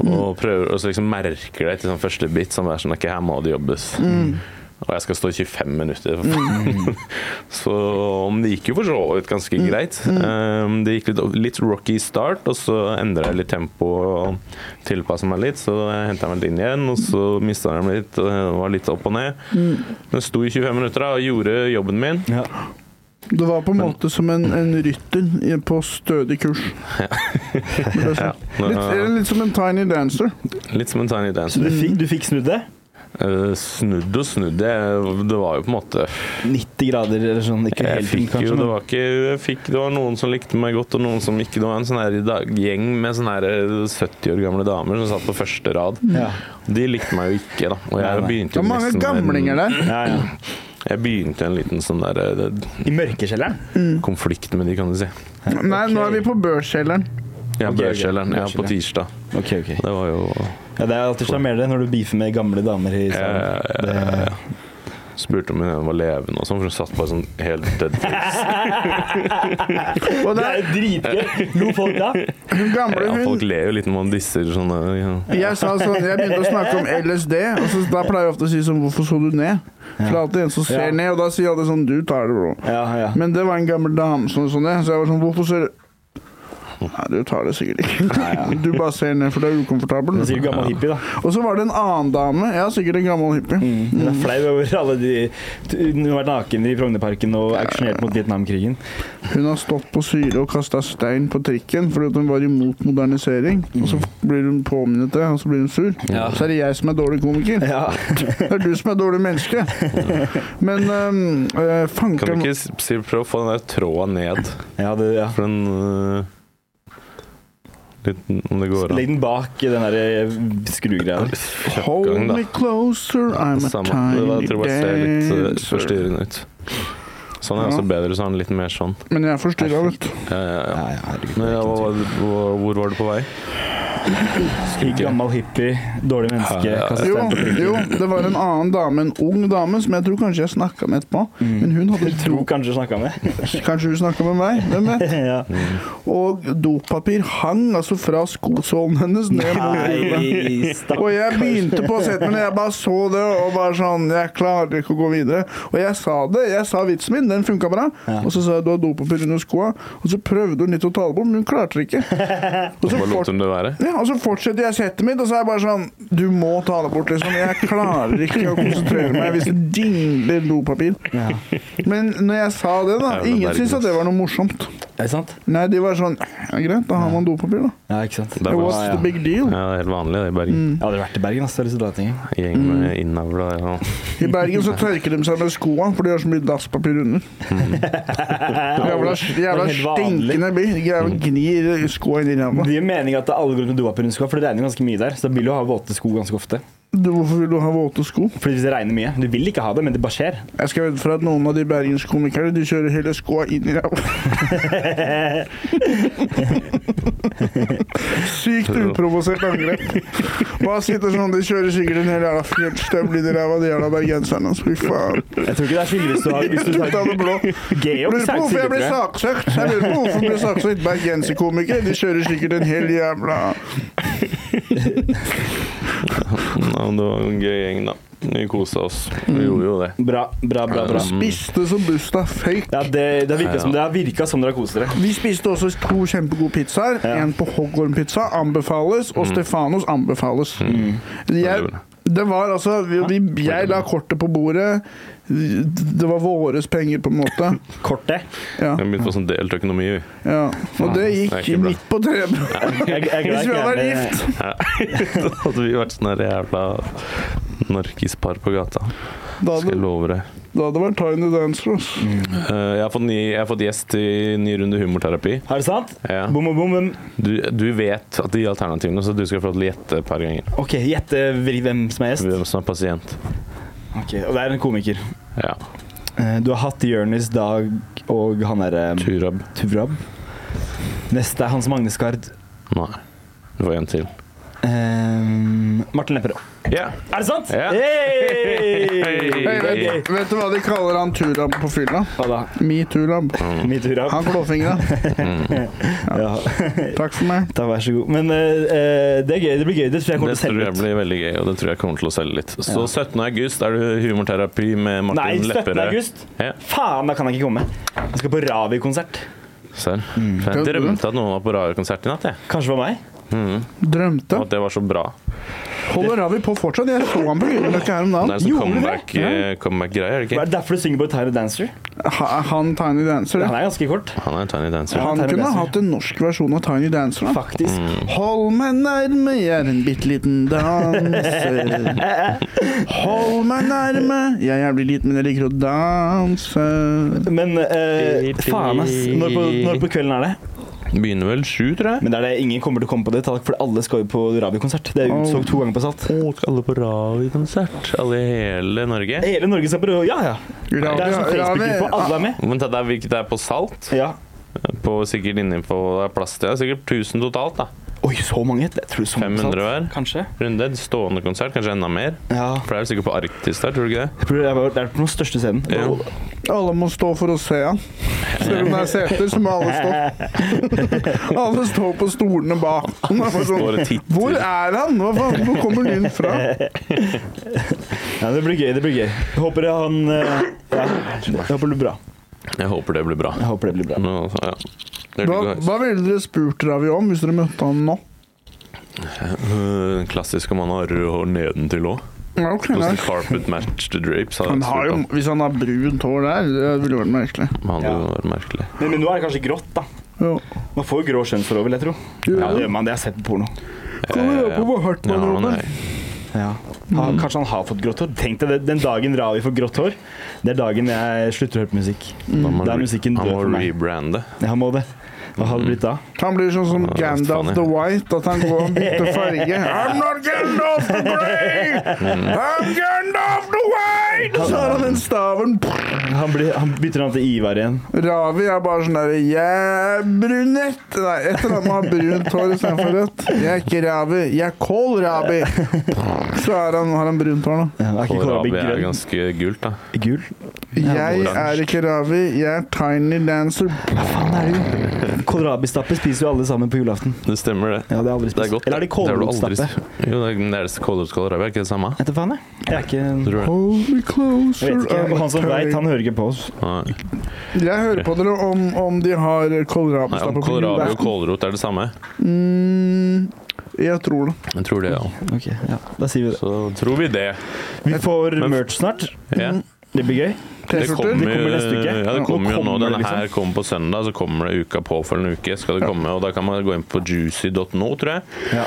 B: Og, prøver, og så liksom merker det til sånn første bit som er sånn Ok, her må det jobbes.
A: Mm.
B: Og jeg skal stå i 25 minutter. For faen. [LAUGHS] så om det gikk jo for så vidt ganske
A: Mm.
B: greit. Um, det gikk litt, litt rocky start, og så endra jeg litt tempo og tilpassa meg litt. Så henta jeg meg litt inn igjen, og så mista jeg meg litt. Og var litt opp og ned.
A: Mm.
B: Men sto i 25 minutter da, og gjorde jobben min.
A: Ja.
C: Det var på en måte som en, en rytter i- på stødig kurs. Vil
B: [LAUGHS]
C: jeg si.
B: Nå-
C: Litt, eller litt som en tiny dancer.
B: Litt som en tiny dancer.
A: Så du fikk, du fikk snudd det?
B: Eh, snudd og snudd, jeg- det var jo på en måte
A: 90 grader eller sånn. Ikke
B: Jeg
A: helt fint,
B: fikk jo,
A: kanskje.
B: det
A: Men.
B: var ikke jeg fikk, Det var noen som likte meg godt, og noen som ikke. Det var en sånn her i dag- gjeng med sånne her 70 år gamle damer som satt på første rad.
A: Ja.
B: De likte meg jo ikke, da. Og jeg
A: Nei, nei.
B: begynte
C: Det
B: jo
C: er mange
B: nesten
C: gamlinger
B: en,
C: der.
A: Ja, ja.
B: Jeg begynte en liten sånn der eh, det-
A: I mørkekjelleren?
B: konflikt med de, kan du si.
C: Nei, nå er vi på børskjelleren.
B: Ja,
A: Ok, ok.
B: Børskjelleren. Ja, på
A: Børskjelleren.
B: tirsdag.
A: Ok, ok.
B: Det var jo
A: Ja, det er alltid sjarmerende når du beefer med gamle damer i salen.
B: Jeg spurte om hun var levende og sånn, for hun satt bare sånn helt dead
A: [LAUGHS]
B: face.
C: Og
A: Det
C: det
A: er
C: er
A: dritgøy! Lo folk da?
C: hun gamle
B: Ja, folk
C: hun
B: ler jo litt når man disser sånne ja.
C: jeg, sa sånn, jeg begynte å snakke om LSD, og så, da pleier jeg ofte å si sånn Hvorfor så du ned? For det er alltid en som ser
A: Ja.
C: ned, og da sier alle sånn Du tar det, bro.
A: Ja, ja.
C: Men det var en gammel dame som sånn det, så jeg var sånn Hvorfor ser du Nei, du tar det sikkert ikke. [LAUGHS] Du bare ser ned, for du er ukomfortabel.
A: Det er sikkert gammel hippie, da.
C: Og så var det en annen dame. Ja, sikkert en gammel hippie.
A: Hun er flau over alle de Hun har vært naken i Frognerparken og auksjonert mot Vietnamkrigen.
C: Hun har stått på syre og kasta stein på trikken fordi at hun var imot modernisering. Og så blir hun påminnet det, og så blir hun sur.
B: Ja.
C: Så er det jeg som er dårlig komiker.
A: Ja.
C: Det er du som er dårlig menneske. Men um, uh,
B: Kan
C: fanken
B: du ikke s- si, prøve å få den der tråden ned?
A: ja, det, ja.
B: For den øh, Liten, om det går an.
A: Legg den bak i den der eh, skrugreia. der.
C: Hold
B: Kjøttgang, da.
C: me closer, I'm a
B: Samme. Jeg
C: tiny
B: tror jeg ser litt øh,
C: dancer.
B: forstyrrende ut. Sånn er også bedre, så har den litt mer sånn.
C: Men jeg er forstyrra, vet du.
B: Ja, ja, ja.
A: Ja, ja, herregud.
B: Men, ja, hva, hva, hvor var du på vei?
A: Ikke Gammel hippie, dårlig menneske.
B: Ja, ja.
A: kastet
C: Jo,
A: stein på trikken.
C: jo, det var en annen dame, en ung dame, som jeg tror kanskje jeg snakka med etterpå. Men hun hadde
A: Mm. Tror kanskje du snakka med. [LAUGHS]
C: Kanskje hun snakka med meg? Hvem vet?
A: ja.
C: Mm. Og dopapir hang altså fra skosålen hennes ned mot gulvet.
A: Nei,
C: Og
A: stakkars.
C: jeg begynte på setet, men jeg bare så det og bare sånn Jeg klarer ikke å gå videre. Og jeg sa det. Jeg sa vitsen min, den funka bra.
A: Ja.
C: Og så sa jeg du har dopapir under skoa. Og så prøvde hun litt å tale på, men hun klarte det
A: [LAUGHS]
C: ikke. Og så
B: Hva lot
C: fort-
B: hun det være?
C: ja, og så fortsetter jeg settet mitt, og så er jeg bare sånn Du må ta det bort, liksom. Jeg klarer ikke å konsentrere meg hvis det dingler dopapir.
A: Ja.
C: Men når jeg sa det, da
B: Ja, men
C: Ingen
B: herregud.
C: syntes at det var noe morsomt.
A: Er det sant?
C: Nei, de var sånn Ja, greit, da har man dopapir, da.
A: Ja, ikke sant.
B: Det er
C: What's
A: Ja, ja.
C: the big deal?
B: Ja, det er helt vanlig det i Bergen.
C: Mm.
A: Jeg har aldri vært i Bergen, ass. Jeg har lyst til å dra til Bergen.
B: Gjeng med innavla ja.
C: I Bergen så tørker de seg med skoa, for de har så mye dasspapir under. Jævla, jævla
A: Mm. Det er helt vanlig.
C: stinkende by. De Jævla gnir skoa inn i ræva.
A: Det gir mening at alle går rundt med dopapir under skoa, for det regner ganske mye der. Så da vil du ha våte sko ganske ofte.
C: Du, Hvorfor vil du ha våte sko?
A: Fordi hvis det regner mye Du vil ikke ha det, men det bare skjer.
C: Jeg skal vedde for at noen av de bergenske komikerne De kjører hele skoa inn i ræva. Sykt uprovosert angrep. Bare sitter sånn, De kjører sikkert en hel jævla fjellstøvel inn i ræva, de jævla bergenserne. altså. Fy faen.
A: Jeg tror ikke det er skyldig hvis du har hvis du
C: Ut av
A: tar
C: det blå. Jeg
A: [LAUGHS] Georg
C: lurer på hvorfor jeg ble
A: saksøker, tror jeg.
C: saksøkt. Jeg lurer på hvorfor jeg ble saksøkt Bergenserkomiker. De kjører sikkert en hel jævla
B: ja, Det var en gøy gjeng, da. Vi kosa oss.
C: Mm.
B: Vi gjorde jo det.
A: Bra, bra, bra. bra.
C: Spiste som busta føyk.
A: Ja, det, det har virka som det har virka som dere har kost dere.
C: Vi spiste også to kjempegode pizzaer. En på Hoggorm-pizza anbefales,
A: Mm.
C: og Stefanos anbefales. Jeg, det var altså vi, vi, Jeg la kortet på bordet. Det var våres penger, på en måte.
B: [LAUGHS]
A: Kortet.
C: Ja.
B: Vi begynte på sånn delt økonomi. vi.
C: ja.
B: altså,
C: Og det
B: Det er
C: gikk
B: ikke bra.
C: midt på treet.
A: Jeg, jeg, er
C: Hvis
A: glad
C: vi
A: ikke
C: hadde vært
A: er med-
C: gift!
B: Ja. [LAUGHS] Da hadde vi vært sånn der jævla narkispar på gata.
C: Da
B: Skal jeg
C: hadde,
B: love det.
C: da hadde det vært Tiny Dancer. ass.
B: Eh, jeg, har fått ny, jeg har fått gjest i ny runde humorterapi.
A: Er det sant?
B: Ja.
A: Bom og bom. bom.
B: Du, du vet at de alternativene, så du skal få lov til å gjette et par ganger.
A: Ok, gjette vri hvem som er gjest.
B: Hvem som er pasient.
A: Ok, Og det er en komiker.
B: Ja.
A: Eh, Du har hatt Jonis, Dag og han derre
B: Turab.
A: Tuvrab. Neste er Hans Magne Skard.
B: Nei. Du får en til.
A: Eh, Martin Lepperød.
B: Ja.
A: Er det sant?
B: Ja.
A: Hey!
B: Hey!
C: Hei, vet, vet du hva de kaller han Turab på fylla?
A: Hva da?
C: Metoo-lab.
A: Min tur av.
C: Han klåfingra.
A: Ja.
C: Takk for meg.
A: Da vær så god. Men eh, eh, det er gøy. Det blir gøy. Det tror jeg
B: Det tror
A: kommer til å
B: jeg
A: selge ut.
B: blir veldig gøy, og det tror jeg kommer til å selge litt. Så 17. august er det humorterapi med Martin
A: Nei, 17.
B: Lepperød.
A: august.
B: Ja,
A: Faen, da kan jeg ikke komme. Jeg skal på Ravi-konsert.
B: ser.
A: Mm.
B: Jeg drømte at noen var på radiokonsert i natt, jeg.
A: Kanskje for meg.
B: Og
C: Drømte.
B: at det var så bra.
C: Holder Ravi på fortsatt? Jeg så han på Grünerløkka her om
B: Det
C: dagen.
B: er en sånn
A: Gjorde du det?
B: comeback-greie, comeback er det
A: Er
B: ikke?
A: det derfor du synger på Tiny Dancer?
C: Ha- Han Tiny Dancer.
A: Han er ganske kort.
B: Han er en tiny dancer.
C: Han
A: Tiny
C: kunne
A: Dancer.
C: hatt en norsk versjon av Tiny Dancer. da.
A: Faktisk.
B: Mm.
C: Hold meg nærme, jeg er en bitte liten danser. Hold meg nærme, jeg er jævlig liten, men jeg liker å danse.
A: Men eh, faen, ass. Når på, når på kvelden er det?
B: Begynner vel sju, tror jeg.
A: Men det er det ingen kommer til å komme på det, takk, for alle skal jo på Ravi-konsert. Det er utsolgt to ganger på Salt.
B: Å, skal alle på radiokonsert? Alle i hele Norge?
A: Hele Norge skal på Ja, ja. Det er sånn Facebook-gruppe.
C: Ravi-
A: Alle er med.
B: Vent, det er hvilket det er på Salt?
A: Ja.
B: På, sikkert innenpå det er plass til det er sikkert 1000 totalt, da.
A: Oi, så mange? Jeg tror det er sånn så mange på Salt.
B: 500 hver.
A: Kanskje.
B: Runde. Stående konsert, kanskje enda mer.
A: Ja.
B: For det er vel sikkert på Arktis der, tror du ikke det?
A: Jeg tror Det er det er på den største scenen.
B: Ja.
C: Alle må stå for å se han. Selv om det er seter, så må alle stå. Alle står på stolene bak. Han er bare
B: Står og
C: Sånn,
B: titter.
C: Hvor er han? Hva faen? Hvor kommer lyden fra?
A: Ja, det blir gøy. det blir gøy Jeg Håper han eh, ja, Jeg håper det blir bra.
B: Jeg håper det blir bra.
A: Jeg håper det blir bra.
B: Men altså, ja. Det er
C: Hva,
B: digg, altså.
C: hva ville dere spurt Ravi om hvis dere møtte han nå?
B: Øh, Den klassiske man har rød hår nedentil òg.
C: Ja, ok,
B: Hvordan
C: nei.
B: carpet match the drapes har
C: Han
B: jeg
C: har
B: spurt
C: jo,
B: om.
C: hvis han har brunt hår der, det ville vært merkelig.
B: Men Han
A: Ja.
B: var merkelig.
A: Men, men nå er det kanskje grått, da.
C: Ja.
A: Man får jo grå skjønnsforhold, vil jeg tro. Ja, det gjør man. Det har jeg sett på porno.
C: Kommer jeg på hvor hardt man
B: Ja,
C: jobber?
B: nei.
A: Ja. Han, kanskje han har fått grått hår. Tenk deg det, den dagen Ravi får grått hår, det er dagen jeg slutter å høre på musikk.
B: Da må
A: Da Mm. er
B: re-
A: musikken død
B: Han må
A: for meg.
B: rebrande.
A: Jeg må det. Hva hadde det blitt da?
C: Han blir sånn som
B: Ja, det er
C: Gandalf
B: faen,
C: the
B: ja.
C: White, at han går og bytter [LAUGHS] farge. I'm not Gandalf the Grey! I'm Gandalf the White! Og så har han den staven.
A: Han, blir, han bytter navn til Ivar igjen.
C: Ravi er bare sånn derre Jeg er brunett! Nei, et eller annet med å ha brunt hår istedenfor rødt. Jeg er ikke Ravi, jeg er Kål Ravi! Så er han, har han brunt hår, da.
A: Ja, er ikke Kåre
B: Kålrabi
A: Big
B: er
A: grønn?
B: ganske gult, da.
A: Gul?
C: Jeg er ikke Ravi, jeg er Tiny Dancer.
A: Hva faen er det jo? Kålrabistappe spiser jo alle sammen på julaften.
B: Det stemmer, det.
A: Ja, det har jeg aldri
B: Det er
A: spist.
B: godt.
A: Eller er det
B: har du aldri
A: kålrotstappe?
B: s- Jo, det er den der kålrotskålrabi er ikke det samme?
A: Etter faen, jeg. Jeg er ikke
B: Tror du det?
C: Hold me
A: Jeg
C: closer
A: vet ikke.
C: I'm
A: Han som veit,
C: turning.
A: han hører ikke på oss.
B: Nei.
C: Jeg hører på dere om, om de har
B: Nei, om
C: kålrabistappe på
B: kålrabi og
C: julaften.
B: kålrot er det samme?
C: Mm, jeg tror det.
B: Jeg tror det, ja.
A: Ok, ja. Da sier vi det.
B: Så tror vi det.
A: Vi får
B: Men-
A: merch snart.
B: Ja.
A: Det blir gøy.
B: Det
C: T-skjorter?
A: Det kommer neste uke.
B: Ja,
A: Ja,
B: det
A: nå
B: kommer jo nå.
A: kommer det,
B: Denne her kommer på søndag, så kommer det uka påfølgende uke. Skal det komme, og Da kan man gå inn på juicy.no, tror jeg.
A: Ja.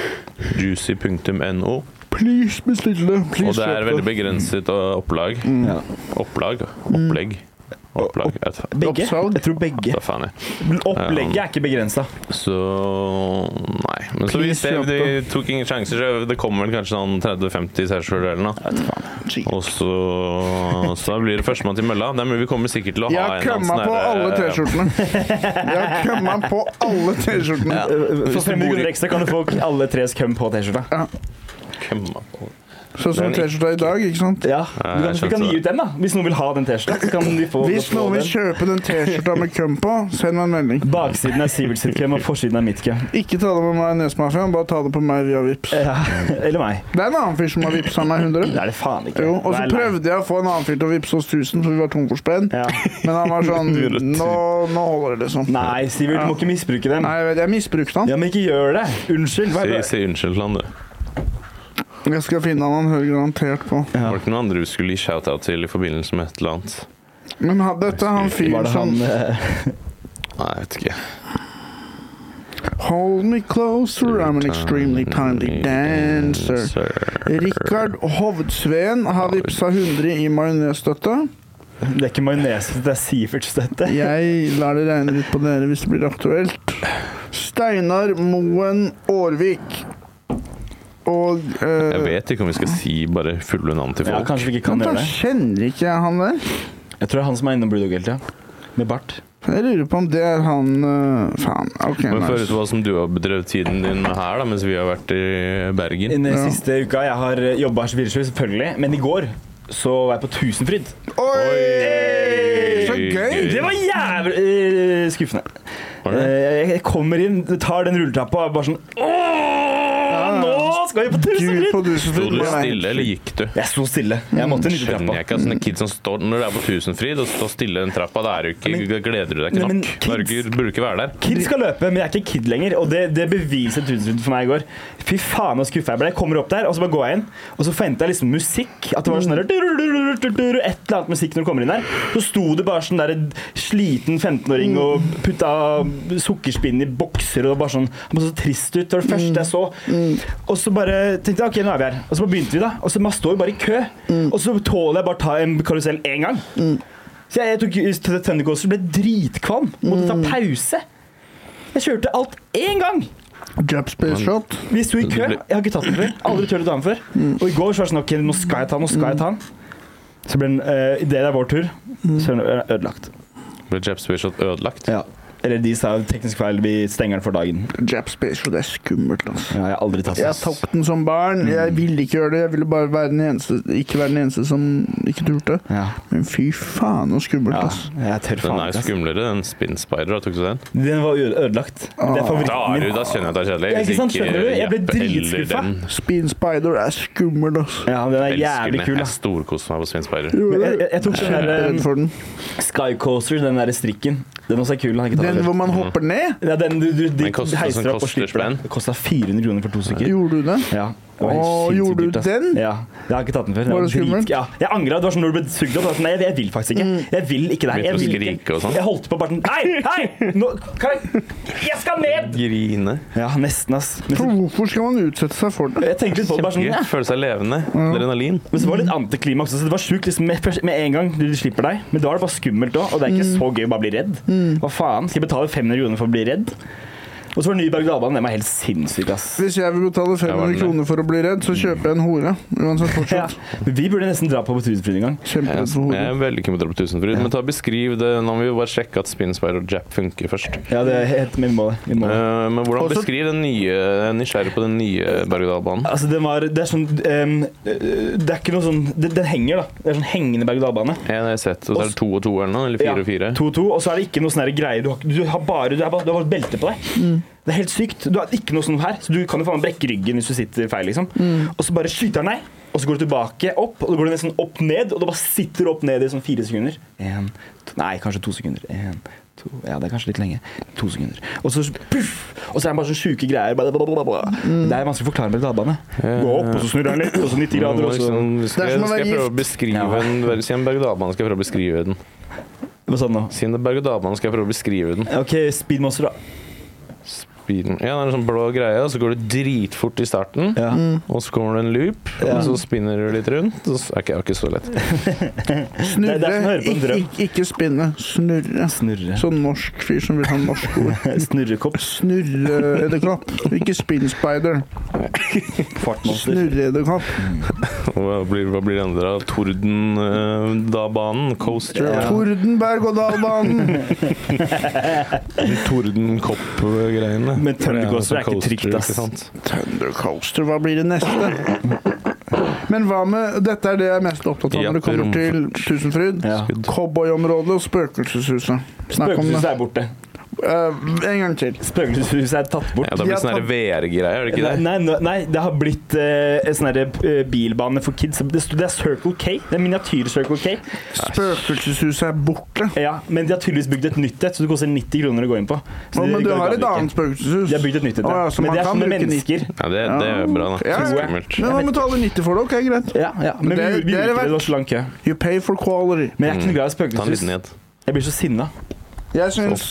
B: Juicy.no.
C: Please bestill det.
B: Og
C: Please
B: det er
C: kjøp
B: veldig begrenset uh, opplag.
A: Ja.
B: Opplag? Opplegg? Opplag. Jeg vet
A: Begge.
C: Oppsalg?
A: Jeg tror begge.
B: da faen jeg.
A: Opplegget er ikke begrensa.
B: Så nei. Men så vi
C: Please
B: ser,
C: kjøp
B: de tok ingen sjanser. så Det kommer vel kanskje sånn 30-50 T-skjorter eller noe.
C: Cheap.
B: Og så, så da blir det førstemann til mølla. Det er mulig vi kommer sikkert til å
C: Jeg
B: ha
C: har
B: en
C: kømma
B: sånn
C: på
B: der-
C: alle T-skjortene. Jeg har kømma på alle T-skjortene.
A: Eh, For
B: Hvis du
A: 500
B: bor i-
A: kroner ekstra kan du få alle tres cum på T-skjorta.
B: Kømma på.
C: Sånn som T-skjorta i dag, ikke sant?
A: Ja,
B: Ja,
A: du
B: jeg
A: kan, Vi
B: skjønte
A: kan gi
B: det.
A: ut den, da. Hvis noen vil ha den T-skjorta. så kan de få-
C: Hvis
A: få
C: noen vil
A: den.
C: kjøpe den T-skjorta med køm på, send meg en melding.
A: Baksiden er Sivert sitt køm, og forsiden er mitt køm.
C: Ikke ta det på meg i Nesmafiaen, bare ta det på meg via Vips.
A: Ja, eller meg.
C: Det er en annen fyr som har vipsa meg 100.
A: Det er det faen ikke.
C: Jo, og så
A: Nei, nei.
C: prøvde jeg å få en annen fyr til å vippse oss 1000, for vi var tom for spenn.
A: Ja.
C: Men han
A: [LAUGHS]
C: var sånn
B: Du er litt-
C: Nå, nå holder det, liksom.
A: Nei, Sivert, du må ikke misbruke dem.
C: Nei, jeg vet, jeg misbrukte han.
A: Ja, men ikke gjør det. Unnskyld. Hva er
B: Si,
A: det?
B: si unnskyld til han, du.
C: Jeg skal finne han, han hører garantert på.
A: Ja.
B: Var det ikke noen andre du skulle gi shout-out til i forbindelse med et eller annet?
C: Men ha- dette er han
A: Var
C: fyren
A: det
C: som
A: han eh,
B: Nei, jeg vet ikke.
C: Hold me closer, I'm an extremely timely dancer. Rikard Hovdsveen har vippsa 100 i majonesstøtte.
A: Det er ikke majones, det er Siverts dette.
C: Jeg lar det regne litt på dere hvis det blir aktuelt. Steinar Moen Aarvik. Og eh,
B: Jeg vet ikke om vi skal si bare fulle navn til
A: Ja,
B: folk.
A: kanskje vi ikke kan
C: men da
A: gjøre det.
C: kjenner ikke jeg han der.
A: Jeg tror det er han som er innom Blue Dog hele tida. Med bart.
C: Jeg lurer på om det er han eh, Faen. OK,
B: Men få høre
C: nice.
B: hva som du har bedrevet tiden din med her, da, mens vi har vært i Bergen.
A: Den
C: Ja.
A: siste uka jeg har eh, jobba 24-7, selvfølgelig. Men i går så var jeg på Tusenfryd.
C: Oi! Så gøy!
A: Det var jævlig eh, skuffende.
B: Var det?
A: Eh, jeg- jeg kommer inn, tar den rulletrappa og bare sånn Åh, nå skal vi på
C: Gud på
A: Tusenfryd!
B: Sto
C: Dusenfryd.
B: du stille, eller gikk du?
A: Jeg sto stille. Jeg måtte nyte
B: Skjønner
A: trappa.
B: jeg ikke at sånne kids som står Når du er på Tusenfryd og står stille i den trappa, da er du ikke,
A: Men-
B: da gleder du deg
A: Nei,
B: ikke
A: men
B: nok. Da er du
A: kids-
B: ikke, burde du ikke være der.
A: Kid skal løpe, men jeg er ikke kid lenger. Og det, det beviser Tusenfryd for meg i går. Fy faen så skuffa jeg ble. Jeg kommer opp der, og så bare går jeg inn, og så forventa jeg liksom musikk. At det var sånn der, Et eller annet musikk når du kommer inn der. Så sto det bare sånn der en sliten 15-åring og putta sukkerspinn i bokser og bare sånn Han så så trist ut. Det var det første jeg så. Og så bare tenkte jeg OK, nå er vi her. Og så bare begynte vi, da. Og så man står jo bare i kø. Og så tåler jeg bare å ta en karusell én gang. Så jeg, jeg tok Thundercoaster og ble dritkvalm. Måtte ta pause. Jeg kjørte alt én gang!
C: Jump space shot.
A: Vi sto i kø. Jeg har ikke tatt den før. Aldri turt å ta den før. Og i går så var det sånn OK, nå skal jeg ta den, nå skal jeg ta den. eh, Så ble den, uh, idet det er vår tur, så er den ø- ødelagt.
B: Ble Jepsbishot ødelagt?
A: Mm. Ja. Eller de sa teknisk feil, vi stenger den for dagen.
C: Jap Spatial, det er skummelt, altså.
A: Ja, jeg har aldri tatt
C: Jeg tok den som barn.
A: Mm.
C: Jeg ville ikke gjøre det. Jeg ville bare være den eneste, ikke være den eneste som ikke turte.
A: Ja.
C: Men fy faen, så skummelt,
A: ja,
C: altså.
A: jeg tør
B: Den er
A: faen ikke.
B: jo
A: ass.
B: skumlere, den Spin Spider. Tok du den?
A: Den var øde- ødelagt. Det er
B: Da,
A: favoritten
B: er
A: min.
B: du, da skjønner jeg at det er kjedelig.
A: Ja, ikke
B: hvis
A: sant, skjønner du? Jeg ble
B: Jeppe eller
A: dritskuffa.
B: den.
C: Spin Spider er skummel, altså.
A: Ja, den er
B: Elsker
A: jævlig
B: den.
A: kul, da.
B: Jeg storkoser meg på Spin Spider.
C: Jo,
A: Men jeg,
C: det-
A: jeg, jeg tok
C: Jeg er
A: den der
C: Redd
A: um,
C: for den.
A: Skycoaster, den der strikken. Den også er kul. Den har jeg ikke tatt
C: Den
A: den
C: hvor man hopper ned?
A: ja, den du, du,
B: Den
A: de
B: koster- sånn
A: heiser
B: den
A: opp og
B: koster
A: slipper den.
B: spenn.
A: Det kosta 400 kroner for to stykker.
C: Gjorde du det?
A: Ja, det var helt
C: Åh,
A: sinnssykt
C: gjorde du
A: dyrt, ass.
C: den?
A: Ja. Jeg har ikke tatt den før.
C: Var
A: Jeg
C: det skummelt?
A: drit- Ja. Jeg angra. Det var som når du ble sugd opp. Jeg var sånn, Nei, jeg, jeg vil faktisk ikke. Jeg vil ikke det
B: Begynte
A: her.
B: å
A: Jeg, vil
B: skrike
A: ikke.
B: og sånn.
A: jeg holdt på bare sånn Hei, hei! Nå kan jeg Jeg skal ned!
B: Grine.
A: Ja, nesten, ass. Men
C: For
A: så,
C: hvorfor skal man utsette seg for det?
A: jeg tenkte litt på det bare sånn
B: Gøy.
A: ja.
B: Føle seg levende. Adrenalin.
A: Men så var det litt antiklimaks. også, Så det var sjukt liksom, med, først- med en gang de slipper deg. Men da er det bare skummelt òg, og det er ikke så gøy å bare bli redd. Hva faen? Skal jeg betale 500 kroner for å bli redd? Og så var det ny berg-og-dal-bane. Den var helt sinnssyk, ass.
C: Hvis jeg vil betale
B: var den
C: 500
B: der.
C: kroner for å bli redd, så kjøper jeg en hore. Uansett,
A: Ja.
C: fortsatt.
A: Men Vi burde nesten dra på Tusenfryd en gang.
C: Kjemperedd for
A: sånn-
B: Jeg
C: hore.
B: er veldig keen på å dra på Tusenfryd, men ta beskriv det. Nå må vi jo bare sjekke at Spin Spider og Jap funker først.
A: Ja, det er helt vi må det. Vi må det.
B: Eh, men hvordan
C: Også-
B: beskriv den nye Jeg er Nysgjerrig på den nye berg-og-dal-banen.
A: Altså, den var Det er sånn ehm, øh, Det er ikke noe sånn Den, den henger, da. Det er sånn hengende berg-og-dal-bane.
B: En har jeg sett, og så er det to og to eller noe? Eller fire og fire?
A: 2-2. Og så er det ikke noe sånne her greier. Du har, du har bare Du har bare, du har bare et belte på deg. Det er helt sykt. Du har ikke noe sånn her, så du kan jo faen meg brekke ryggen hvis du sitter feil, liksom. Og så bare skyter han deg, og så går du tilbake opp, og så går du nesten opp ned, og du bare sitter opp ned i sånn fire sekunder. En, to, nei, kanskje to sekunder. En, to, ja, det er kanskje litt lenge. To sekunder. Og så puff! Og så er det bare sånne sjuke greier. Bla, bla, bla, bla. Det er vanskelig å forklare med dalbane. Gå opp, og så snurrer han litt, og så 90 grader, og så
B: Liksom, skal,
C: Det er som å
B: jeg- skal
C: være
B: jeg prøve å
C: gift.
B: beskrive
A: Ja.
B: en ver- Si en berg-og-dal-bane, skal jeg prøve å beskrive den.
A: Hva sa du nå?
B: Si en berg-og-dal-bane, skal jeg prøve å beskrive den.
A: OK, speedmonster, da.
B: Bilen. Ja, det er en sånn blå greie, og så går det dritfort i starten.
A: Ja.
B: Og så kommer det en loop, og så spinner du litt rundt. Og så, ok, det var ikke så lett. [LAUGHS]
A: Det er derfor jeg
C: Snurre.
A: hører på en
C: Ikke,
A: drøm.
C: ikke, ikke spinne. Snurre.
A: Snurre. [LAUGHS]
C: Sånn norsk fyr som vil ha norsk ord.
A: Snurrekopp.
C: Snurreedderkopp. Ikke spinnspider.
A: Fartmonster.
C: Snurreedderkopp.
B: Og Hva blir, hva blir det andre? Torden-da-banen? Coaster?
A: Ja.
C: Tordenberg-og-dal-banen.
B: Tordenkopp-greiene. altså
A: Men Thundercoaster er ikke trygt, ass.
C: Thundercoaster, hva blir det neste? Men hva med Dette er det jeg er mest opptatt av når det kommer til Tusenfryd.
A: Ja.
C: Cowboyområdet og Spøkelseshuset. Snakk om
A: Spøkelseshuset
C: det.
A: er borte.
C: Eh, en gang til.
A: Spøkelseshuset er tatt bort.
B: Ja, da blir sånn det
C: De har
B: sånne
C: tatt-
B: VR-greier, er det ikke
A: Nei,
B: det?
A: nei, nei, nei, det har blitt eh, en sånn her, eh, bilbane for kids. Det, sto- det er Circle K. Det er miniatyr-Circle K.
C: Spøkelseshuset er borte.
A: Ja, men de har tydeligvis bygd et nytt et, så det koster 90 kroner å gå inn på. Så
C: Å,
A: det
C: men du
A: går
C: har et
A: gammel
C: annet
A: ikke.
C: spøkelseshus.
A: De har bygd et nytt et,
C: Å,
A: ja.
C: ja, så
A: Men
C: man
A: det er
C: kan
A: sånne
C: bruke
A: mennesker.
B: Ja, det, det er bra, da.
C: Ja, ja.
B: Skummelt.
C: Men hva med å betale 90 for det? Ok, greit.
A: Ja, ja. Men
C: Det
A: vi,
C: er-
A: vi
C: det er verdt.
A: gjorde det, det var så lang kø.
C: You pay for quality.
A: Men jeg er ikke noe glad i
B: Ta en
A: spøkelseshus.
B: liten ned.
A: Jeg blir så sinna.
C: Jeg syns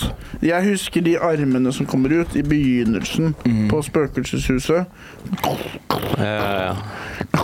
C: Jeg husker de armene som kommer ut i begynnelsen på Spøkelseshuset.
B: Ja, ja, ja.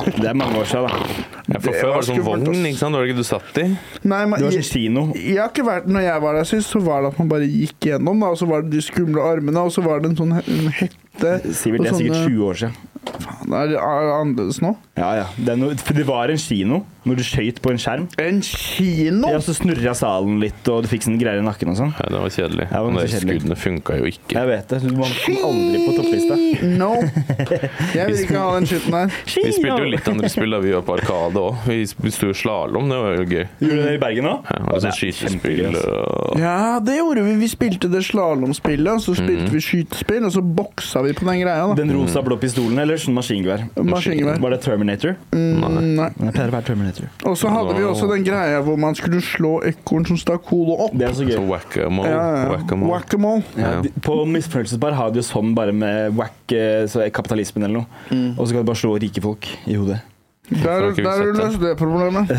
A: Det er mange år siden, da.
B: Ja, for
C: Det
B: før
C: var
B: var det sånn
C: skummelt,
B: vogn,
C: ass.
B: ikke sant? Det var det ikke du satt i?
C: Nei, men
A: Det var
C: [LAUGHS] jeg,
A: sånn kino.
C: jeg har ikke vært Når jeg var der sist, så var det at man bare gikk gjennom, da, og så var det de skumle armene, og så var det en sånn he- en hette
A: Sivert, det er sikkert 20 år siden.
C: Faen, er det er det annerledes nå?
A: Ja, ja. Det, er noe, for det var en kino når du skøyt på en skjerm.
C: En kino?
A: Ja, så snurra salen litt, og du fikk sånne greier i nakken og sånn.
B: Ja, det var kjedelig.
A: Ja, det var
B: Men de
A: så kjedelig.
B: skuddene funka jo ikke.
A: Jeg vet det. Du man kom aldri på topplista.
C: No. Jeg vil ikke ha den skitten her.
B: Vi spilte jo litt andre spill da vi var på Arkade òg. Vi sp- sto i slalåm, det var jo gøy.
A: Gjorde du det i Bergen òg?
B: Ja, og sånn skytespill og
C: Ja, det gjorde vi. Vi spilte det slalåmspillet, og så spilte vi skytespill, og så boksa vi på den greia, da.
A: Den rosa blå pistolen eller sånn maskingevær?
C: Maskingevær.
A: Var det Terminator?
B: Nei.
C: Nei.
A: Jeg pleier å være Terminator.
C: Og så hadde vi også den greia hvor man skulle slå ekorn som stakk hodet opp.
A: Det er så
B: Så
A: gøy.
B: whack-a-mole.
C: Ja, ja.
B: whack-a-mole.
C: Whack-a-mole.
A: Ja,
B: Ja.
A: de- på Misfornøyelsesbar har de jo sånn bare med whack eh, så er kapitalismen eller noe. Og så kan du bare slå rike folk i hodet.
C: Der,
B: har ikke vi
C: der har du
B: sett
C: løst det problemet.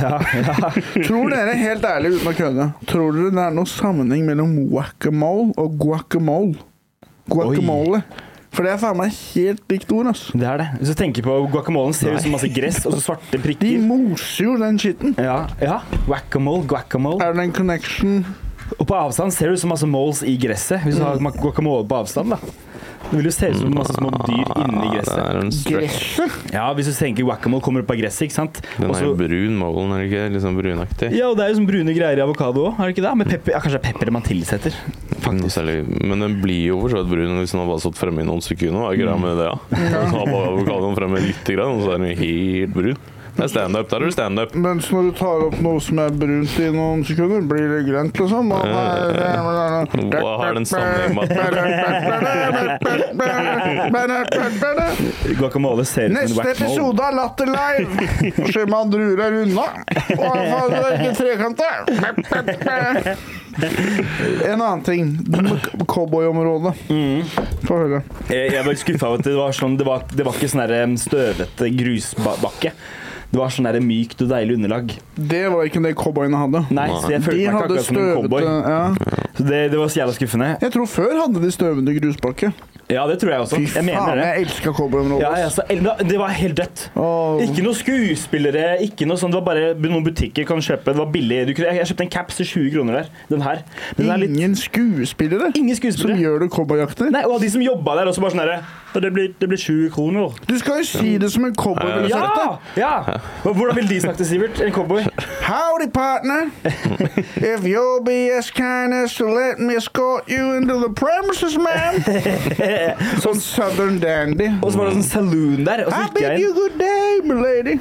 C: Tror dere, helt ærlig uten å kødde, tror dere det er noen sammenheng mellom whack-a-mole og guacamole? Guacamole. For det er faen meg helt likt ord, ass.
A: Det er det. Hvis du tenker på guacamolen, ser det ut som masse gress og så svarte
C: De
A: prikker.
C: moser jo den skitten.
A: Ja, ja. Whack-a-mole, guacamole.
C: Er det en connection?
A: Og på avstand ser det ut som masse moles i gresset. Hvis du har ma- guacamole på avstand, da. Det vil jo se ut som masse små dyr inni
B: Ja, det
A: gresset.
B: er en stretch.
C: Gresset?
A: Ja, hvis du tenker whack-a-mole kommer opp av gresset, ikke sant?
B: Den er jo
A: Også-
B: brun, molen, er det ikke? Litt sånn brunaktig.
A: ja, og det er jo sånn brune greier i avokado òg, er det ikke det? Med pepper, ja, kanskje det er pepper man tilsetter.
B: Noe særlig. Men den blir jo for så vidt brun hvis den har bare stått fremme i noen sekunder. Hva er greia med det, [LAUGHS] da? Ja? Så har bare avokadoen fremme litt, grann, og så er den jo helt brun. Det er standup. Der er det standup.
C: Mens når du tar opp noe som er brunt i noen sekunder, blir det grønt, liksom. Og
B: Hva har den sammenheng med
A: Guacamole ser ut som en
C: Neste
A: whack-mole.
C: episode av Latter Live!
A: [LAUGHS]
C: Skjermann druer er unna. Og faen, det er ikke trekantet! En annen ting. det med Cowboyområdet.
A: Mm.
C: Få høre.
A: Jeg jeg var skuffa over at det var sånn Det var, det var ikke sånn der, um, støvete grusbakke. Det var sånn der mykt og deilig underlag.
C: Det var ikke det cowboyene hadde.
A: Nei, så jeg
C: De
A: følte meg
C: hadde
A: ikke
C: eh,
A: akkurat som en
C: støvete
A: cowboy.
C: ja.
A: Så det, det var så jævla skuffende.
C: Jeg tror før hadde de støvende grusbakke.
A: Ja, det tror jeg også.
C: Fy
A: Sånn, Jeg mener
C: faen,
A: det.
C: jeg elska cowboyområdet.
A: Ja, ja, så, eller, det var helt dødt.
C: Åh.
A: Ikke noen skuespillere, ikke noe sånt. Det var bare noen butikker kan kjøpe. Det var billig. Du kunne, jeg, jeg kjøpte en caps til 20 kroner der. Den her. Men den er litt
C: Ingen skuespillere
A: Ingen
C: som
A: skuespillere.
C: gjør det cowboyaktig.
A: Nei, og de som jobba der, også bare sånn herre Det blir det blir 20 kroner.
C: Du skal jo si det som en cowboy ville
A: Ja!
C: sagt det.
A: ja! Og Hvordan ville de snakket til Sivert? En cowboy?
C: Howdy, [LAUGHS] partner. if you'll be as kind as to let me escort you into the premises, [LAUGHS] man. Sånn southern dandy.
A: Og så var det en sånn saloon der. Og så
C: I
A: gikk
C: bid
A: jeg
C: you
A: inn.
C: good day, my lady.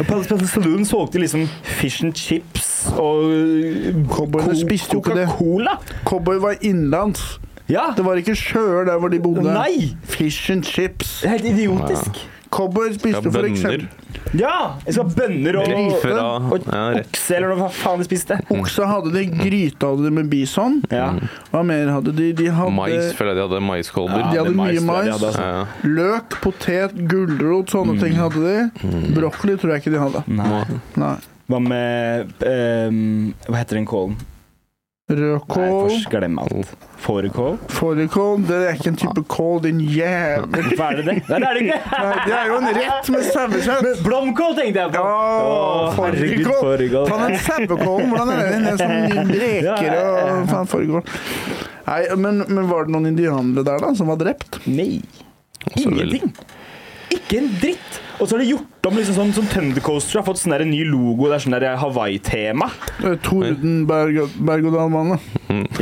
A: Og på, på saloonen solgte de liksom fish and chips og
C: Cowboyene
A: Co-
C: spiste jo ikke det.
A: Coca-Cola.
C: Cowboy var innenlands.
A: Ja.
C: Det var ikke sjøer der hvor de bodde.
A: Nei!
C: Fish and chips.
A: Det er Helt idiotisk.
C: Cowboy
B: Ja,
C: spiste for
B: bønner.
C: eksempel
A: Ja! Jeg skal ha bønner og
C: Rife.
B: Fra
A: Og
B: ja, rett.
A: okse, eller hva faen de spiste.
C: Okse hadde de, gryte hadde de med bison.
A: Ja.
C: Hva mer hadde de? De hadde
B: Mais, føler jeg de hadde. Maiskolber.
C: De
B: Ja,
A: Mm. Ja, det
C: hadde
A: er mais,
C: mye
A: det er det
C: mais.
A: de hadde, altså.
B: ja.
C: Løk, potet, gulrot, sånne ting hadde de. Brokkoli tror jeg ikke de hadde.
A: Nei.
C: Nei.
A: Hva med ehm, Hva heter den kålen? Nei,
C: Rødkål.
A: først glem alt. Fårikål?
C: Fårikål, det er ikke en type kål, din
A: [LAUGHS]
C: jævel.
A: Hva er det det? Nei, det er det ikke!
C: Nei, Det er jo en rett med sauekjøtt.
A: [LAUGHS] Blomkål tenkte jeg på!
C: Åh,
A: Åh, herregud,
C: fårikål.
A: fårikål.
C: Faen, den sauekålen, hvordan er den? Den
A: [LAUGHS]
C: som reker og faen fårikål. Nei, men, men var det noen indianere der da, som var drept?
A: Nei.
B: så vel.
A: Ingenting. Ikke en dritt. Og så har de gjort om liksom sånn som Thunder Coaster har fått sånn der en ny logo. Det er sånn der Hawaii-tema.
C: Eh, Tordenberg berg og dal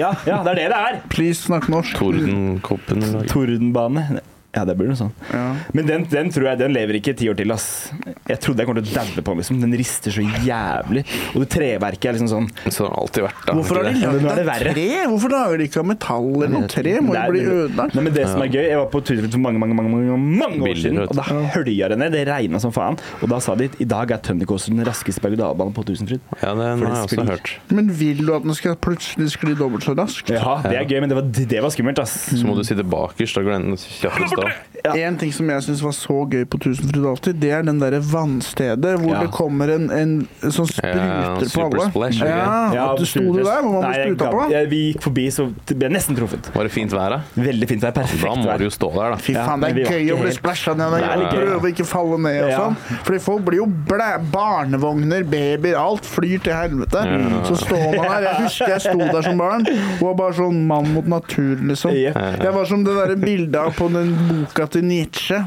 A: Ja, ja, det er det det er.
C: Please, snakk norsk.
B: Tordenkoppen. i dag.
A: Tordenbane. Ja, det blir noe sånn.
C: Ja.
A: Men den, den tror jeg den lever ikke ti år til, ass. Jeg trodde jeg kom til å daue på den, liksom. Den rister så jævlig. Og det treverket er liksom sånn
B: Så det har alltid vært da.
C: Hvorfor har de
B: ikke det?
A: Men nå
C: lagd
A: er det
C: av
A: verre.
C: tre? Hvorfor lager de ikke av metall eller noe tre? Må
A: Nei,
C: jo bli
A: men-
C: ødelagt.
A: Nei, men det som er gøy, jeg var på Twitter for mange, mange, mange, mange, mange år
B: Bilder,
A: siden,
B: vet
A: og
B: du.
A: da hølja det ned. Det regna som faen. Og da sa de i dag er Tønderkåsen den raskeste berg-og-dal-banen på Tusenfryd.
B: Ja, det den har
A: For det
B: jeg også
A: spiller.
B: hørt.
C: Men vil du at den skal plutselig skli dobbelt så raskt?
A: Ja, det er gøy, men det var, det var skummelt, ass.
B: Så må du sitte bakerst og glemme kjappest da.
A: Ja.
C: En ting som jeg syns var så gøy på Tusenfryd alltid, det er den derre vannstedet hvor
A: Ja.
C: det kommer en, en som spruter på
B: Super
C: alle.
B: Splash, ikke?
C: ja, at du sto du der hvor man ble
A: Nei, jeg
C: spruta på?
A: gadd- jeg- Vi gikk forbi, så ble jeg nesten truffet.
B: Var det fint vær, da?
A: Veldig fint vær. Perfekt
B: Da må
A: vær.
B: du jo stå der, da.
C: Fy
A: Ja,
C: faen,
A: men vi
C: det
A: var
C: er gøy å
A: ikke
C: bli
A: helt-
C: splæsja ned og
B: Nei, det er gøy,
C: prøve å ikke falle ned og
A: Ja.
C: sånn. Fordi folk blir jo blæ barnevogner, babyer, alt flyr til helvete. Så står man der. Jeg husker jeg sto der som barn og var bare sånn mann mot naturen, liksom.
A: Ja.
B: Eh,
C: Jeg var som det derre bildet av på den boka til Nietzsche.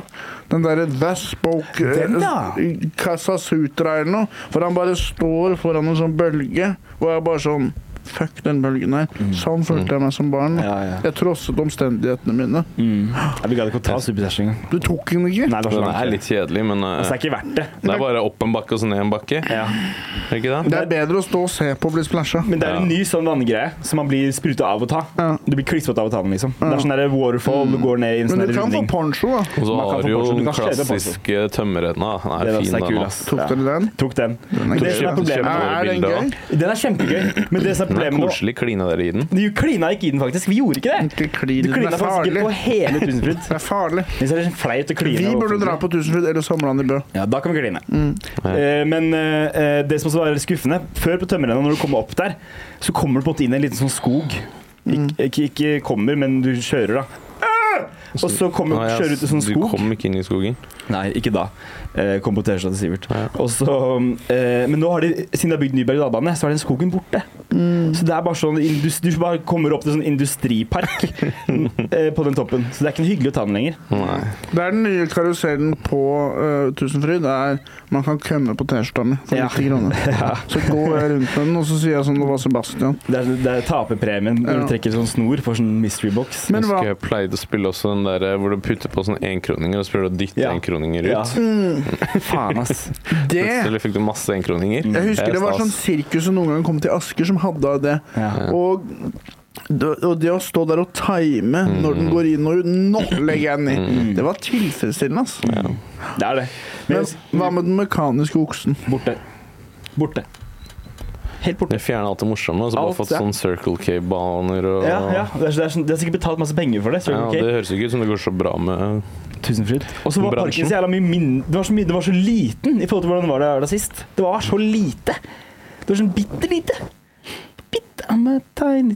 C: Den derre Thus Spoke eh,
A: Den da?
C: Casa Sutra eller noe. Hvor han bare står foran en sånn bølge, og jeg bare sånn Fuck den bølgen her. Sånn følte jeg meg som barn.
A: Mm. Ja, ja.
C: Jeg trosset omstendighetene mine.
A: Mm. Ja, Vi gadd ikke å ta Superstæsj engang.
C: Du tok den ikke?
A: Nei, det var så
B: Den
A: langt.
B: er litt kjedelig, men eh,
A: Altså, det er ikke verdt det.
B: det er bare opp en bakke og så ned en bakke. Er
A: Ja.
B: det ikke det?
C: Det er bedre å stå og se på bli splæsja.
A: Men det er en ny sånn vanngreie som man blir spruta av å ta.
C: Ja.
A: Du blir klissvåt av å ta den, liksom. Det er sånn der waterfall, du går ned i en
C: Mm.
A: sånn
C: Men du
A: der
C: kan få
A: runding.
C: poncho, da.
B: Og så
A: Man kan
B: har
A: få
B: du jo
A: Porsche,
B: den
A: du kan kjøre Porsche.
B: klassiske tømmerrenna. Den
A: sånn. Det
B: er
A: var
B: fin,
A: så
B: den.
A: kul,
B: da.
A: ass.
C: Tok
A: Ja.
C: dere den?
A: Tok den. Men det som er
B: Kjempe-
A: problemet
B: kjempe-
C: Er den
B: bilder,
C: gøy?
A: Den er kjempegøy, men det som er
B: Den er
A: problemet nå
B: koselig. Klina dere i den?
A: Du klina ikke i den, faktisk. Vi gjorde ikke det.
C: Ikke klin,
A: Du
C: den
A: klina
C: er
A: faktisk
C: farlig.
A: ikke
C: [LAUGHS]
A: på hele Tusenfryd.
C: Det er farlig.
A: Det er sånn flaut å kline.
C: Vi
A: og-
C: burde dra på Tusenfryd eller Sommerland i Bø.
A: Ja, da kan vi kline. Eh, men eh, det som også var skuffende Før på tømmerrenna, når du kommer opp der, så kommer du på en måte inn i en liten sånn skog. Ik ikke, ikke kommer, men du kjører, da. Og så kommer,
B: Nei, ass,
A: kjører du ut i sånn
B: Du
A: skog.
B: kom ikke inn i skogen.
A: Nei, ikke da. Eh, kom på T-skjorta til Sivert.
B: Ja.
A: Og så, eh, men nå har de, siden de har bygd Nyberg dalbane, så er den skogen borte. Så det er bare sånn indus- Du bare kommer opp til sånn industripark eh, på den toppen. Så det er ikke hyggelig å ta den lenger.
B: Nei.
C: Det er den nye karusellen på eh, Tusenfryd. Det er man kan kømme på T-skjorta mi for
A: [LAUGHS] Ja.
C: 90 kroner. Så går jeg rundt med den, og så sier jeg sånn det var Sebastian.
A: Det er, det er taperpremien når
C: Ja.
A: du trekker sånn snor for sånn mystery box.
C: Men
B: jeg
C: hva
B: husker jeg pleide å spille også den der eh, hvor du putter på sånne enkroninger, og så prøver du å dytte
A: Ja.
B: enkroninger ut.
A: Ja. Mm. Faen, ass.
C: Det
B: Plutselig fikk du masse enkroninger.
C: Jeg husker det var sånn
B: stas.
C: sirkus som noen gang kom til Asker, som hadde det.
A: Ja.
C: Og det, og det å stå der og time når
B: Mm.
C: den går inn og ut Nå legger jeg den i! Det var tilfredsstillende, ass.
A: Det er det. Men,
C: Men hva med den mekaniske oksen?
A: borte. Borte. Helt borte.
B: Jeg fjerna alt det morsomme, og så bare
A: Alt,
B: fått
A: ja.
B: sånn Circle K-baner og
A: Ja, ja. Det er, det er, sånn- de har sikkert betalt masse penger for
B: Ja,
A: det. Circle K.
B: Det høres ikke ut som det går så bra med
A: Tusenfryd. Og så var
B: Bransjen.
A: parken så jævla mye mindre det var, så mye, det var så liten i forhold til hvordan det var da jeg var der sist. Det var så lite. Det var sånn bitte lite. Bitte I'm a tiny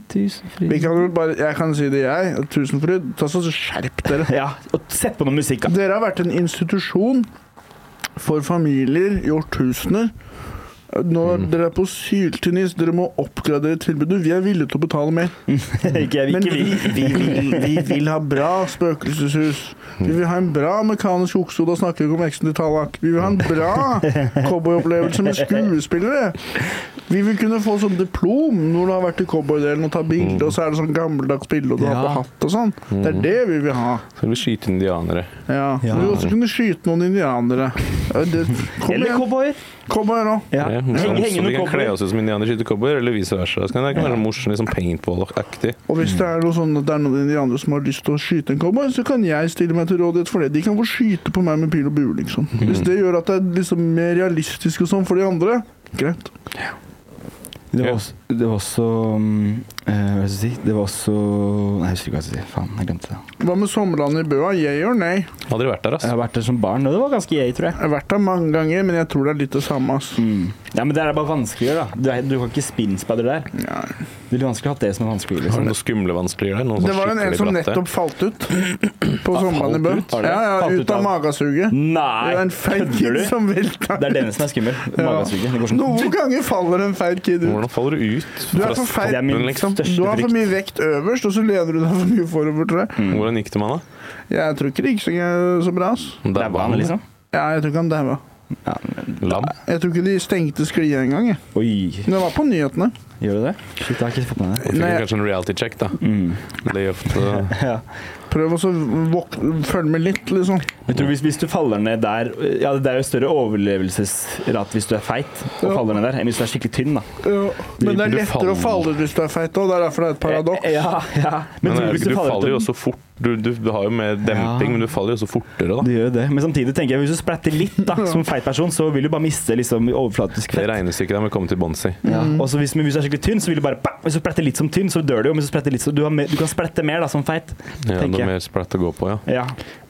C: Vi
A: tusenfryd.
C: kan jo bare, jeg kan si det, jeg. Tusenfryd, ta så skjerp dere.
A: Ja, og sett på noe
C: [LAUGHS]
A: musikk, da.
C: Dere har vært en institusjon for familier i årtusener. Når dere er på syltynnis, dere må oppgradere tilbudet. Vi er villige til å betale mer.
A: ikke
C: Men
A: ikke
C: vi, [LAUGHS] vi,
A: vi.
C: vil, vi vil ha bra spøkelseshus. Vi vil ha en bra mekanisk okse, og da snakker vi ikke om veksten til Tallak. Vi vil ha en bra cowboyopplevelse med skuespillere. Vi vil kunne få sånn diplom når du har vært i cowboydelen og tar bilde, og så er det sånn gammeldags bilde, og du har
A: Ja.
C: på hatt og sånn. Det er det vi vil ha.
B: Så vil Mm. vi skyte indianere.
C: Ja.
A: Ja.
C: Vi vil også kunne skyte noen indianere. Ja, Det, kom
A: Eller
C: igjen,
A: cowboyer.
C: kom her nå.
B: Ja,
A: Ja. Henge-
B: morsomt.
A: Henge
B: så vi
A: noen
B: kan kle
A: cowboyer.
B: oss ut som indianere, skyte cowboyer, eller vice versa. Så kan det kan være morsomt, liksom paintball-aktig.
C: Og
A: Mm.
C: hvis det er noe sånn at det er noen indianere som har lyst til å skyte en cowboy, så kan jeg stille meg til rådighet for det. De kan få skyte på meg med pil og bue, liksom.
A: Mm.
C: Hvis det gjør at det er liksom mer realistisk og sånn for de andre, greit.
A: Det
B: Ja.
A: var også, det var også mm, eh, Hva skal jeg si? Det var også Nei, jeg husker ikke hva jeg skal si. Faen, jeg glemte det.
C: Hva med sommerlandet i Bøa? Yay or nay?
B: Hadde de vært der,
A: Jeg
B: ass.
A: har vært der som barn, og det var ganske yay, tror jeg.
C: Jeg har vært der mange ganger, men jeg tror det er litt det samme, ass.
A: Mm. Ja, men det er bare vanskeligere, da. Du, er, du kan ikke spinnspadder der.
C: Ja.
A: Det ville vanskelig hatt det som er vanskelig.
B: Har
A: Liksom.
B: du noen skumle vanskeligere der? Noen sånn
C: Det var en, en
B: skikkelig
C: som
B: bratte?
C: nettopp falt
A: [CLEARS THROAT]
C: ut på sommerlandet i Bø.
A: Ah, ut? Har det?
C: Ja, ja,
A: Falt ut
C: ut av
A: av-
C: magesuget. Det var
A: Nei!
C: en feit
A: kødder
C: kid
A: du?
C: som velta.
A: Det er denne som er skummel. Magesuget. Det går sånn
C: Noen ganger faller en feit kid ut.
B: Hvordan faller du ut?
C: Du er
B: fra
C: for feit.
A: Det er min
B: toppen, liksom?
A: største
C: Du har for
A: frykt.
C: mye vekt øverst, og så lener du deg for mye forover, tror jeg.
B: Hvordan gikk det med han,
C: Mm. Jeg tror ikke det gikk så, så bra, ass.
B: da?
A: Det er vann, liksom.
C: Ja, jeg tror ikke han daua. liksom.
B: Lam?
C: Jeg tror ikke de stengte sklia engang. jeg.
A: Oi,
C: Men det var på nyhetene.
A: gjør du det? Mm. Shit, jeg har ikke fått med det.
B: Da fikk
C: Nei.
B: vi kanskje en reality check, da. Det gjør ofte
C: [LAUGHS] Prøv også å våk- følge med litt, liksom.
A: Jeg tror hvis, hvis du faller ned der Ja, det er jo større overlevelsesrate hvis du er feit og
C: Ja.
A: faller ned der, enn hvis du er skikkelig tynn, da.
C: Ja, men det er
B: Du
C: lettere å
B: faller-
C: falle hvis du er feit òg. Det er derfor det er et paradoks.
A: Eh, Ja, ja.
B: Men
A: tror
B: er det
A: hvis
B: ikke- du faller jo
A: ned-
B: også fort. Du, du, du har jo mer demping,
A: Ja.
B: men du faller jo også fortere, da.
A: Du gjør jo det. Men samtidig tenker jeg hvis du splatter litt [LAUGHS] da, som feit person, så vil du bare miste liksom overflatisk
B: Det
A: fett.
B: regnestykket der med å komme til bunns i.
A: Ja. Og så hvis, men hvis du er skikkelig tynn, så vil du bare bam! Hvis du splatter litt som tynn, så dør du jo. Men hvis du, splatter litt, så du, har mer, du kan splatte mer da, som feit.
B: Ja,
A: Tenker
B: noe
A: jeg.
B: mer splatt å gå på, ja.
A: Ja.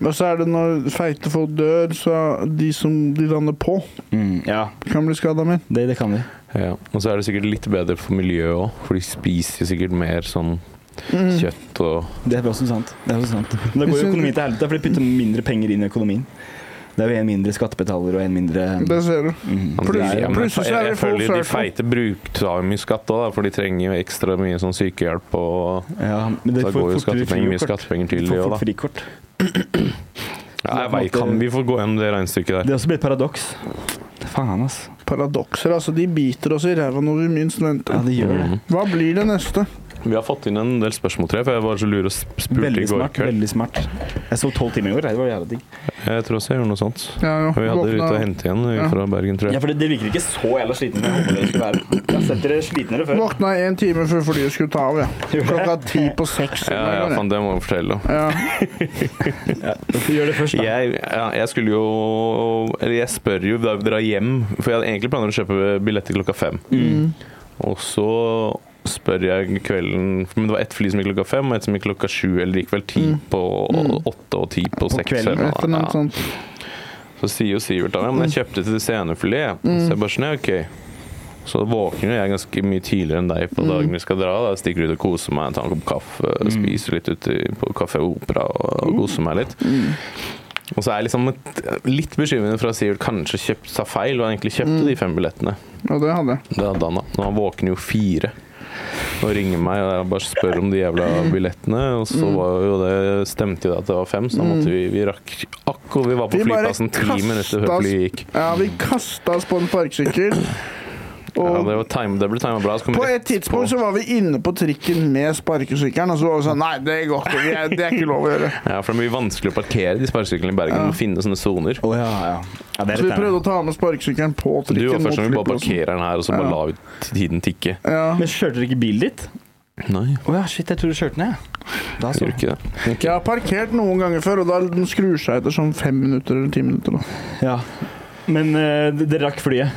C: Og så er det når feite folk dør, så de som de lander på,
A: Mm, ja.
C: kan bli skada mer.
A: Det, det kan vi.
B: ja. Og så er det sikkert litt bedre for miljøet òg, for de spiser jo sikkert mer sånn
C: Mm.
B: kjøtt og
A: Det er også sant. Det er også sant. Men da går jo økonomien til helvete, for de putter mindre penger inn i økonomien. Det er jo en mindre skattebetaler og en mindre
C: Det ser du.
A: Mm.
B: Men det er-
C: Plutselig-
B: men
C: plutselig så er
B: jeg-
C: det
B: Jeg
C: full
B: føler de
C: circle.
B: feite bruk- tar jo mye skatt òg, for de trenger jo ekstra mye sånn sykehjelp og
A: Ja, men det
B: Da går
A: får
B: jo
A: fortere
B: skattepenger, mye
A: frikort.
B: skattepenger til
A: Du
B: de
A: får
B: òg,
A: fort
B: da.
A: frikort.
B: Ja, jeg vet, kan vi få gå gjennom det regnestykket
A: Det
B: der?
A: er også blitt et paradoks. Faen, ass.
C: Paradokser, altså. De biter oss i ræva når vi minst
A: Ja,
C: venter.
A: det gjør det.
B: Mm.
C: Hva blir det neste?
B: Vi har fått inn en del spørsmål, tror jeg, for jeg var så lur og sp- spurte i
A: Veldig
B: går
A: smart.
B: kveld.
A: veldig smart. Jeg så tolv timer i går. Det var jævla digg.
B: Jeg tror også jeg gjorde noe sånt.
C: Ja, ja.
B: Vi hadde ute og
C: Våkna,
B: hente igjen vi,
C: Ja.
B: fra Bergen, tror
A: Ja,
B: jeg.
A: for det, det virker ikke så jævla slitne. som Jeg håper det skulle være. Jeg har sett dere slitnere før.
C: våkna en time før flyet skulle ta av, ja. Klokka ti på seks.
B: Ja, sånn. ja, faen, det må jeg fortelle om.
C: Ja.
A: Gjør det først, da.
B: Jeg, ja, jeg skulle jo Eller jeg spør jo da vi drar hjem, for jeg hadde egentlig planer om å kjøpe billett til klokka fem.
A: mm.
C: Mm.
B: Og så spør jeg kvelden Men det var ett fly som gikk klokka fem, og ett som gikk klokka sju, eller gikk vel ti
C: Mm.
B: på åtte og ti på, seks.
A: kvelden,
B: eller noe.
C: Etter noe
B: Ja.
C: sånt. Mm.
B: Så sier jo Sivert da, ja, men jeg kjøpte til det scenefilet. Så jeg bare sånn, ja, ok. Så våkner jeg ganske mye tidligere enn
C: Mm.
B: deg på dagen vi skal dra. Da stikker ut og koser meg,
C: Mm.
B: tar en kopp kaffe, spiser litt ute på Kafé Opera og koser meg litt. Og så er liksom et, litt bekymrende for at Sivert kanskje kjøpt seg feil, og egentlig
C: Mm.
B: kjøpte de fem billettene.
C: Ja, det hadde jeg.
B: Det hadde han da. Men han våkner jo fire og ringer meg og jeg bare spør om de jævla billettene. Og så
C: Mm.
B: var jo det, stemte jo det at det var fem, så da måtte vi, vi rakk akkurat Vi var på
C: Vi bare
B: flyplassen ti
C: kastet
B: minutter før
C: oss-
B: flyet gikk.
C: Ja, vi kasta oss på en parkesykkel.
B: Ja,
C: Og
B: det, var time, det ble timet bra. Så kom
C: på
B: vi
C: et
B: rett
C: tidspunkt så var vi inne på trikken med sparkesykkelen, og så var vi sånn Nei, det går ikke. Vi er, det er ikke lov å gjøre.
B: ja, For det er mye vanskelig å parkere de sparkesyklene i Bergen. Du må finne sånne soner.
A: Å ja, ja. ja det er
C: Så vi
A: litt
C: prøvde å ta med sparkesykkelen på
B: Du
C: trikken
B: var
C: mot
B: først som vi bare
C: flyplassen.
B: parkerer den her, og så bare la vi tiden tikke.
C: Ja.
A: Men kjørte dere ikke bilen ditt?
B: Nei,
A: Å ja, shit, jeg tror du kjørte ned. jeg. Da
B: gjør
A: så.
B: du ikke det?
C: Jeg har parkert noen ganger før, og da den skrur seg etter sånn fem minutter eller ti minutter. Da.
A: Ja. Men eh, d- dere rakk flyet.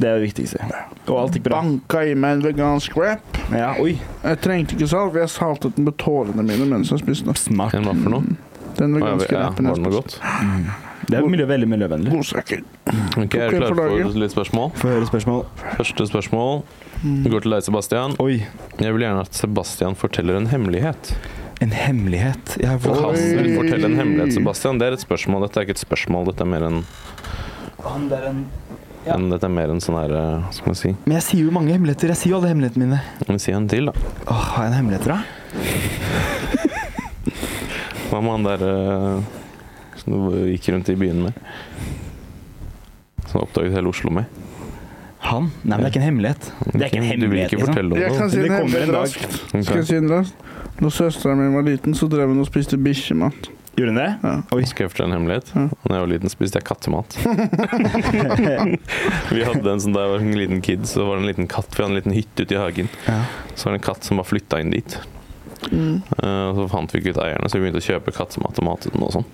A: Det er det viktigste. Og alt gikk bra.
C: Banka i meg en vegansk wrap.
A: Ja, oi.
C: Jeg trengte ikke salt, for jeg saltet den med tårene mine mens jeg spiste den.
A: Smart.
B: En hva for noe?
C: Den
B: Ja,
C: veganske
B: ja,
C: wrapen
B: var det
C: jeg
B: noe
C: spiste.
B: godt?
A: Det er jo miljø, veldig miljøvennlig.
C: Godsaker.
B: Ok, er du
C: en
B: klar
C: for
B: for
C: laget.
B: litt spørsmål?
A: Få høre spørsmål.
B: Første spørsmål går til deg, Sebastian.
A: Oi,
B: Jeg vil gjerne at Sebastian forteller en hemmelighet.
A: en hemmelighet. Jeg har
B: Og
A: fått
B: Kan
C: Oi.
B: du fortelle en hemmelighet, Sebastian? Det er et spørsmål. Dette er ikke et spørsmål, dette er mer en,
A: Han der en Ja.
B: en, dette er mer en sånn her eh, Hva skal man si?
A: Men jeg sier jo mange hemmeligheter. Jeg sier jo alle hemmelighetene mine.
B: Kan vi si en til, da?
A: Åh, har jeg en hemmelighet, da?
B: Hva med han der eh, som du gikk rundt i byen med? Som du oppdaget hele Oslo med?
A: Han? Nei, men det er ikke en hemmelighet. Det er ikke
B: Du
A: en
B: vil
A: hemmelighet, liksom.
B: ikke fortelle
C: Jeg
B: om
C: kan
B: det?
C: si
A: Det
C: det
A: kommer en
C: helt
A: dag.
C: raskt.
B: Ok.
C: Skal jeg si det raskt? Når søsteren min var liten, så drev hun og spiste bikkjemat.
A: Gjorde hun det?
C: Ja.
A: Oi.
B: Skal jeg fortelle en hemmelighet?
C: Ja.
B: Da jeg var liten, spiste jeg
A: [LAUGHS]
B: kattemat. vi hadde en sånn Da jeg var en liten kid, så var det en liten katt Vi hadde en liten hytte ute i hagen.
A: Ja.
B: Så var det en katt som var flytta inn dit.
A: Mm.
B: Eh, og så fant vi ikke ut eierne, så vi begynte å kjøpe kattemat og mate den og sånn.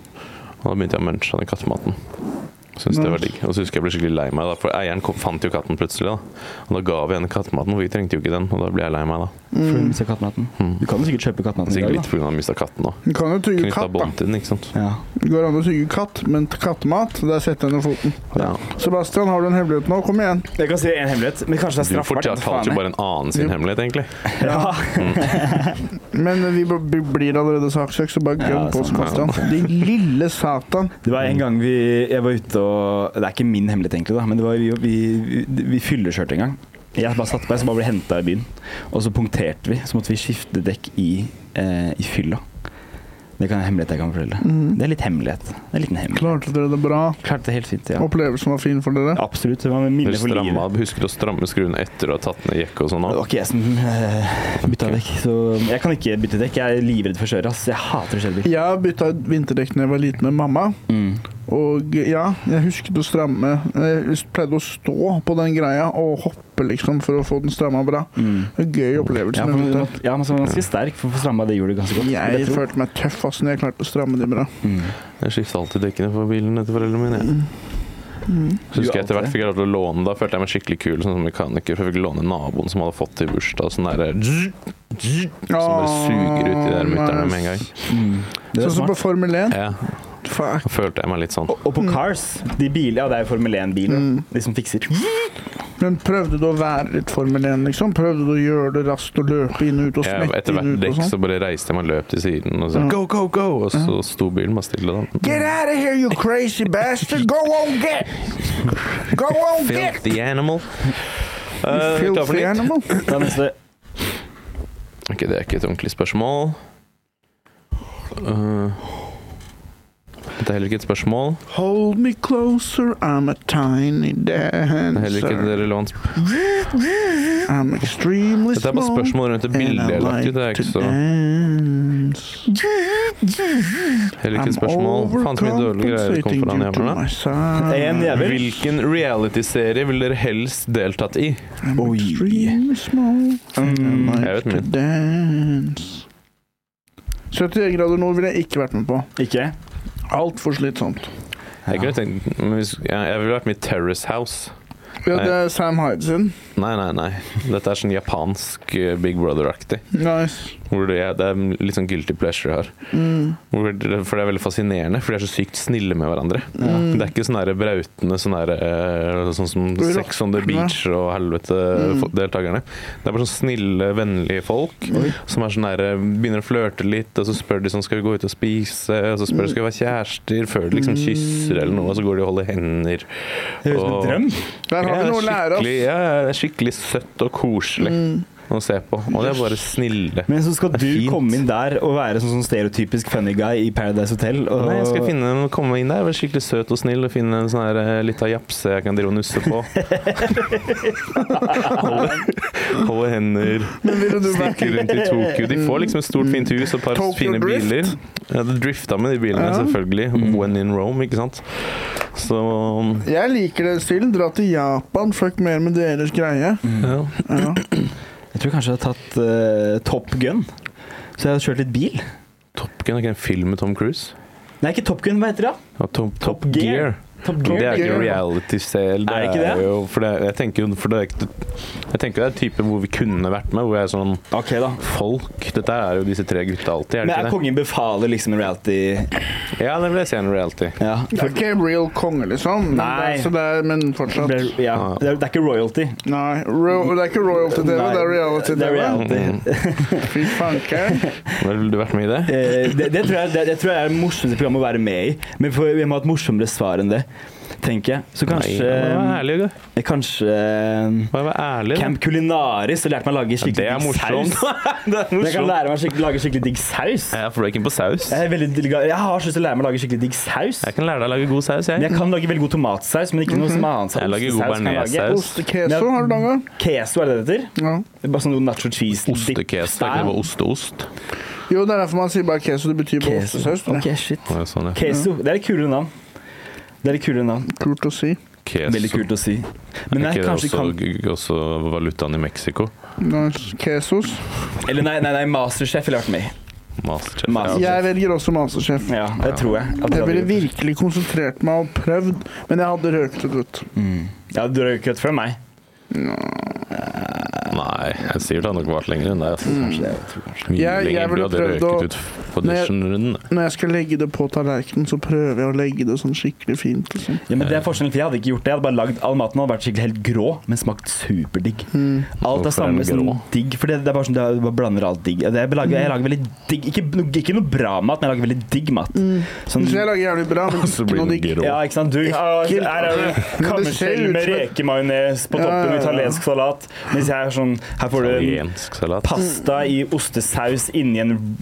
B: Og da begynte jeg å munche den kattematen. Syns det var digg. Og så husker jeg ble skikkelig lei meg, da, for eieren kom, fant jo katten plutselig. da. Og da ga vi henne kattematen, for vi trengte jo ikke den, og da ble jeg lei meg, da.
A: For hun mistet kattematen.
B: Mm.
A: Du kan jo sikkert kjøpe kattematen i
B: Sikkert
A: dag,
B: litt pga. mista katten òg.
C: Du kan jo tygge
B: Knytta
C: katt, da.
B: bånd til den, ikke sant.
A: da. Ja.
C: Det går an å tygge katt, men til kattemat, der setter jeg ned foten.
B: Ja.
C: Sebastian, har du en hemmelighet nå? Kom igjen.
A: Jeg kan si en hemmelighet, men kanskje det er
B: Du
A: straffbart.
B: fortalte jo bare en annen sin hemmelighet, egentlig.
A: Ja.
C: Men vi b- b- blir allerede saksøkt, så bare
A: Ja,
C: gønn på,
A: sant.
C: Sebastian. Din lille satan.
A: Det var en gang vi jeg var ute og Det er ikke min hemmelighet, egentlig, da, men det var vi, vi, vi, vi fyllekjørte en gang. Jeg bare satt på meg, så bare ble henta i byen. Og så punkterte vi, så måtte vi skifte dekk i, eh, i fylla. Det kan en hemmelighet jeg kan fortelle. Det er litt hemmelighet. Det er en liten hemmelighet.
C: Klarte dere det bra?
A: Klarte det helt fint, ja.
C: Opplevelsen var fin for dere?
A: Absolutt. Det var en
B: Du
A: minne for livet.
B: stramma, husker du å stramme skruene etter du har tatt ned jekk og sånn
A: Det
B: òg?
A: var ikke jeg som eh, bytta
B: Ok.
A: dekk, så jeg kan ikke bytte dekk. Jeg er livredd for å kjøre, ass. Jeg hater å kjøre bil.
C: Jeg bytta vinterdekk da jeg var liten med mamma.
A: Mm.
C: Og ja, jeg husket å stramme Jeg pleide å stå på den greia og hoppe liksom for å få den stramma bra.
A: Mm.
C: En gøy opplevelse.
A: Ja, for,
C: men
A: man-
C: vet du.
A: ja, men så var man ganske sterk for å få stramma det hjulet ganske godt. vil
C: Jeg
A: tro.
C: følte meg tøff ass når jeg klarte å stramme de bra. Mm.
A: Mm.
B: Jeg skifta alltid dekkene på bilen etter foreldrene mine. jeg. Så
A: Du
B: husker jeg etter hvert
A: alltid?
B: fikk jeg lov til å låne Da følte jeg meg skikkelig kul sånn som mekaniker, for jeg fikk låne naboen som hadde fått til bursdag. Sånn derre Som bare suger ut de der mutterne med en gang.
A: Mm. Det er
C: Sånn som på
A: smart.
C: Formel 1.
B: Ja,
C: Fuck.
B: da følte jeg meg litt sånn.
A: Og, og på Cars, de biler, ja det er jo Formel 1-biler,
C: Mm.
A: de som fikser.
C: Men prøvde du å være litt Formel 1, liksom? Prøvde du å gjøre det raskt og løpe inn og ut og
B: Jeg,
C: smette
B: etter
C: inn
B: hvert
C: og ut
B: dekk
C: og
B: så
C: sånn? Mm.
B: bare reiste jeg meg og løp til siden og så go, go, go! Og så sto bilen bare stille. da
C: Get out of here, you crazy bastard! Go on, get! Go on, get!
B: Filthy animal.
A: Uh,
B: Eh, vi tar for
C: Filthy
B: nytt.
C: animal.
A: Da er neste
B: Ok, det er ikke et ordentlig spørsmål. Eh, det er heller ikke et spørsmål.
C: Hold me closer, I'm a tiny
B: Det er heller ikke et
C: dancer.
B: relevant sp-
C: I'm extremely
B: Dette er bare
C: small.
B: spørsmål rundt det
C: and
B: bildet
C: I
B: jeg har lagt
C: like
B: ut. Det er ikke
C: to
B: så
C: dance.
B: Heller ikke et
C: I'm
B: spørsmål. Faen så mye dårlige greier det kom fra
C: overcompensating
B: den
C: due to
B: jævla.
C: my size.
A: En jævel.
B: Hvilken realityserie ville dere helst deltatt i?
C: I'm
A: Oi.
C: extremely small.
A: Mm,
C: I
B: jeg vet
C: like to
B: min.
C: dance. 71 grader nord ville jeg ikke vært med på.
A: Ikke?
C: Altfor slitsomt.
B: Jeg, kunne tenkt, men hvis- jeg jeg ville vært med i Terrace House.
C: Ja, det er Sam Hyde sin.
B: Nei, nei, nei. Dette er sånn japansk eh, Big Brother-aktig.
C: Nice.
B: Hvor det, det er litt sånn guilty pleasure her.
C: Mm.
B: Hvor det, for det er veldig fascinerende, for de er så sykt snille med hverandre.
C: Mm.
B: Det er ikke sånn der brautende sånn der, eh, sånn som
C: Rockene.
B: Sex on the Beach og
C: Mm.
B: helvete-deltakerne. Det er bare sånn snille, vennlige folk som er sånn der, eh, begynner å flørte litt, og så spør de sånn skal vi gå ut og spise, og så spør de skal vi være kjærester, før de liksom kysser eller noe, og så går de og holder hender.
A: Det høres ut som
B: Og-
A: en drøm.
C: Der har vi noe å lære av. Mm.
B: skikkelig, ja, det er skikkelig søtt og koselig å se på. Og det er bare snille.
A: Men så skal
B: Det er
A: du
B: fint.
A: komme inn der og være sånn, sånn stereotypisk funny guy i Paradise Hotel. Og,
B: Nei, jeg skal finne, komme inn der, være skikkelig søt og snill og finne en sånn her eh, lita japse jeg kan drive og nusse
C: [LAUGHS]
B: på. Holde, holde hender,
C: Men ville du vært
B: stikke rundt i Tokyo. De får liksom et stort, fint hus og et par
C: Tokyo
B: fine
C: Drift?
B: biler. Ja, det drifta med de bilene,
C: Ja.
B: selvfølgelig. When in Rome, ikke sant. Så
C: Jeg liker det still. Dra til Japan, fuck mer med deres greie.
A: Mm.
B: ja.
C: Ja.
A: Jeg tror kanskje jeg har tatt eh, Top Gun. Så jeg har kjørt litt bil.
B: Top Gun er ikke en film med Tom Cruise?
A: Nei, ikke Top Gun, hva heter det? da?
B: Ja, Top, Top,
A: Top Gear.
B: Gear.
A: Top
B: Det er
A: Gear.
B: ikke
C: Gear.
B: reality-sel.
A: Er det ikke det?
B: Jo, for det, jeg tenker jo for det, er ikke- Jeg tenker det er type hvor vi kunne vært med, hvor jeg er sånn
A: Ok, da.
B: Folk, dette er jo disse tre gutta alltid, er
A: Men
B: det ikke
A: er
B: det?
A: kongen befaler liksom en reality
B: Ja, det vil jeg si er en reality.
A: Ja.
C: Det er ikke real konge, liksom. Men,
A: Nei.
C: Det er, så det er, men
A: Det
C: fortsatt.
A: er- ja. Det, er, det er ikke royalty.
C: Nei. Ro det er ikke royalty-TV,
A: Nei,
C: det er
A: Det, er
C: reality-TV.
A: reality.
C: Fy
A: [LAUGHS]
C: fanken.
B: Ville du vært med i det?
A: Eh, det, det, tror jeg, det, det tror jeg er det morsomste programmet å være med i. Men for, vi må ha et morsommere svar enn det, tenker jeg. Så
B: Nei,
A: kanskje
B: vær ærlig, du.
A: eh, Kanskje eh,
B: Vær ærlig. da.
A: Camp Culinaris har lært meg å lage skikkelig
B: det er
A: digg [LAUGHS]
B: morsomt.
A: saus.
B: Det er
A: Jeg kan
B: morsomt.
A: lære meg å skikkelig- lage skikkelig digg saus.
B: Jeg er breaking på saus.
A: Jeg, er veldig, delga- jeg har så lyst til å lære meg å lage skikkelig digg saus.
B: Jeg kan lære deg å lage god saus, jeg.
A: Men jeg kan lage veldig god tomatsaus, men ikke noe som annet.
B: Jeg lager god
A: Ostesaus kan jeg lage.
B: bearnéssaus.
C: Ostekeso har du laga?
A: Ost- Queso, er det det heter?
C: Ja.
A: Det er Bare sånn nacho cheese
B: Ostekes. Det er ikke det bare osteost?
C: Jo, det er derfor man sier bare keso. Det betyr bare ostesaus.
A: Queso.
C: tror jeg.
A: Ok, shit.
B: Å, ja, Sånn, ja.
A: Queso. Det er et kulere navn. Det er et kulere navn.
C: Kult å si.
B: Queso.
A: Veldig kult å si. Men
B: Er
A: nei,
B: ikke det
A: kanskje kan
B: også, også valutaen i Mexico?
C: Nice. Kesos.
A: Eller nei, nei, nei Masterchef ville vært med. i.
B: Masterchef.
A: Mas-
B: Ja,
C: Jeg velger også Masterchef.
A: Ja, det
B: Ja.
A: tror jeg. At det
C: Jeg ville
A: hadde-
C: virkelig konsentrert meg og prøvd, men jeg hadde røkt det ut.
A: Mm. Ja, du røyker et før meg.
B: Nei, jeg sier det har nok vart lenger enn det. Altså.
A: Kanskje det, jeg tror kanskje.
B: Mye
C: Jeg- jeg
B: lenger. Du
C: ville
B: hadde
C: prøvd å-
B: røket ut på
C: Nei, jeg-
B: auditionrunden.
C: Når jeg skal legge det på tallerkenen, så prøver jeg å legge det sånn skikkelig fint. Liksom.
A: Ja, men det er forskjellen, for Jeg hadde ikke gjort det. Jeg hadde bare lagd all maten og vært skikkelig helt grå, men smakt superdigg. Alt
C: Mm.
B: Hvorfor
A: er samme
B: er den
A: sånn
B: grå?
A: digg, for det, det er bare sånn det er- bare blander alt digg. Jeg lager, jeg lager veldig digg ikke, no- ikke noe bra mat, men jeg lager veldig digg mat. Sånn,
C: Så jeg lager jævlig
A: [LAUGHS]
C: bra, men
B: Så
C: ikke
B: blir
C: noe
B: den
C: digg.
B: grå.
A: Ja, ikke sant? Du, ja,
C: Ekkelt.
A: her er det
C: Men det ser
A: kammerskjell
C: ut
A: med
C: som et-
A: rekemayonnaise på toppen,
C: Ja, ja, ja.
A: italiensk salat. Mens jeg er sånn Her får du en
B: Italiensk salat.
A: pasta i ostesaus inni en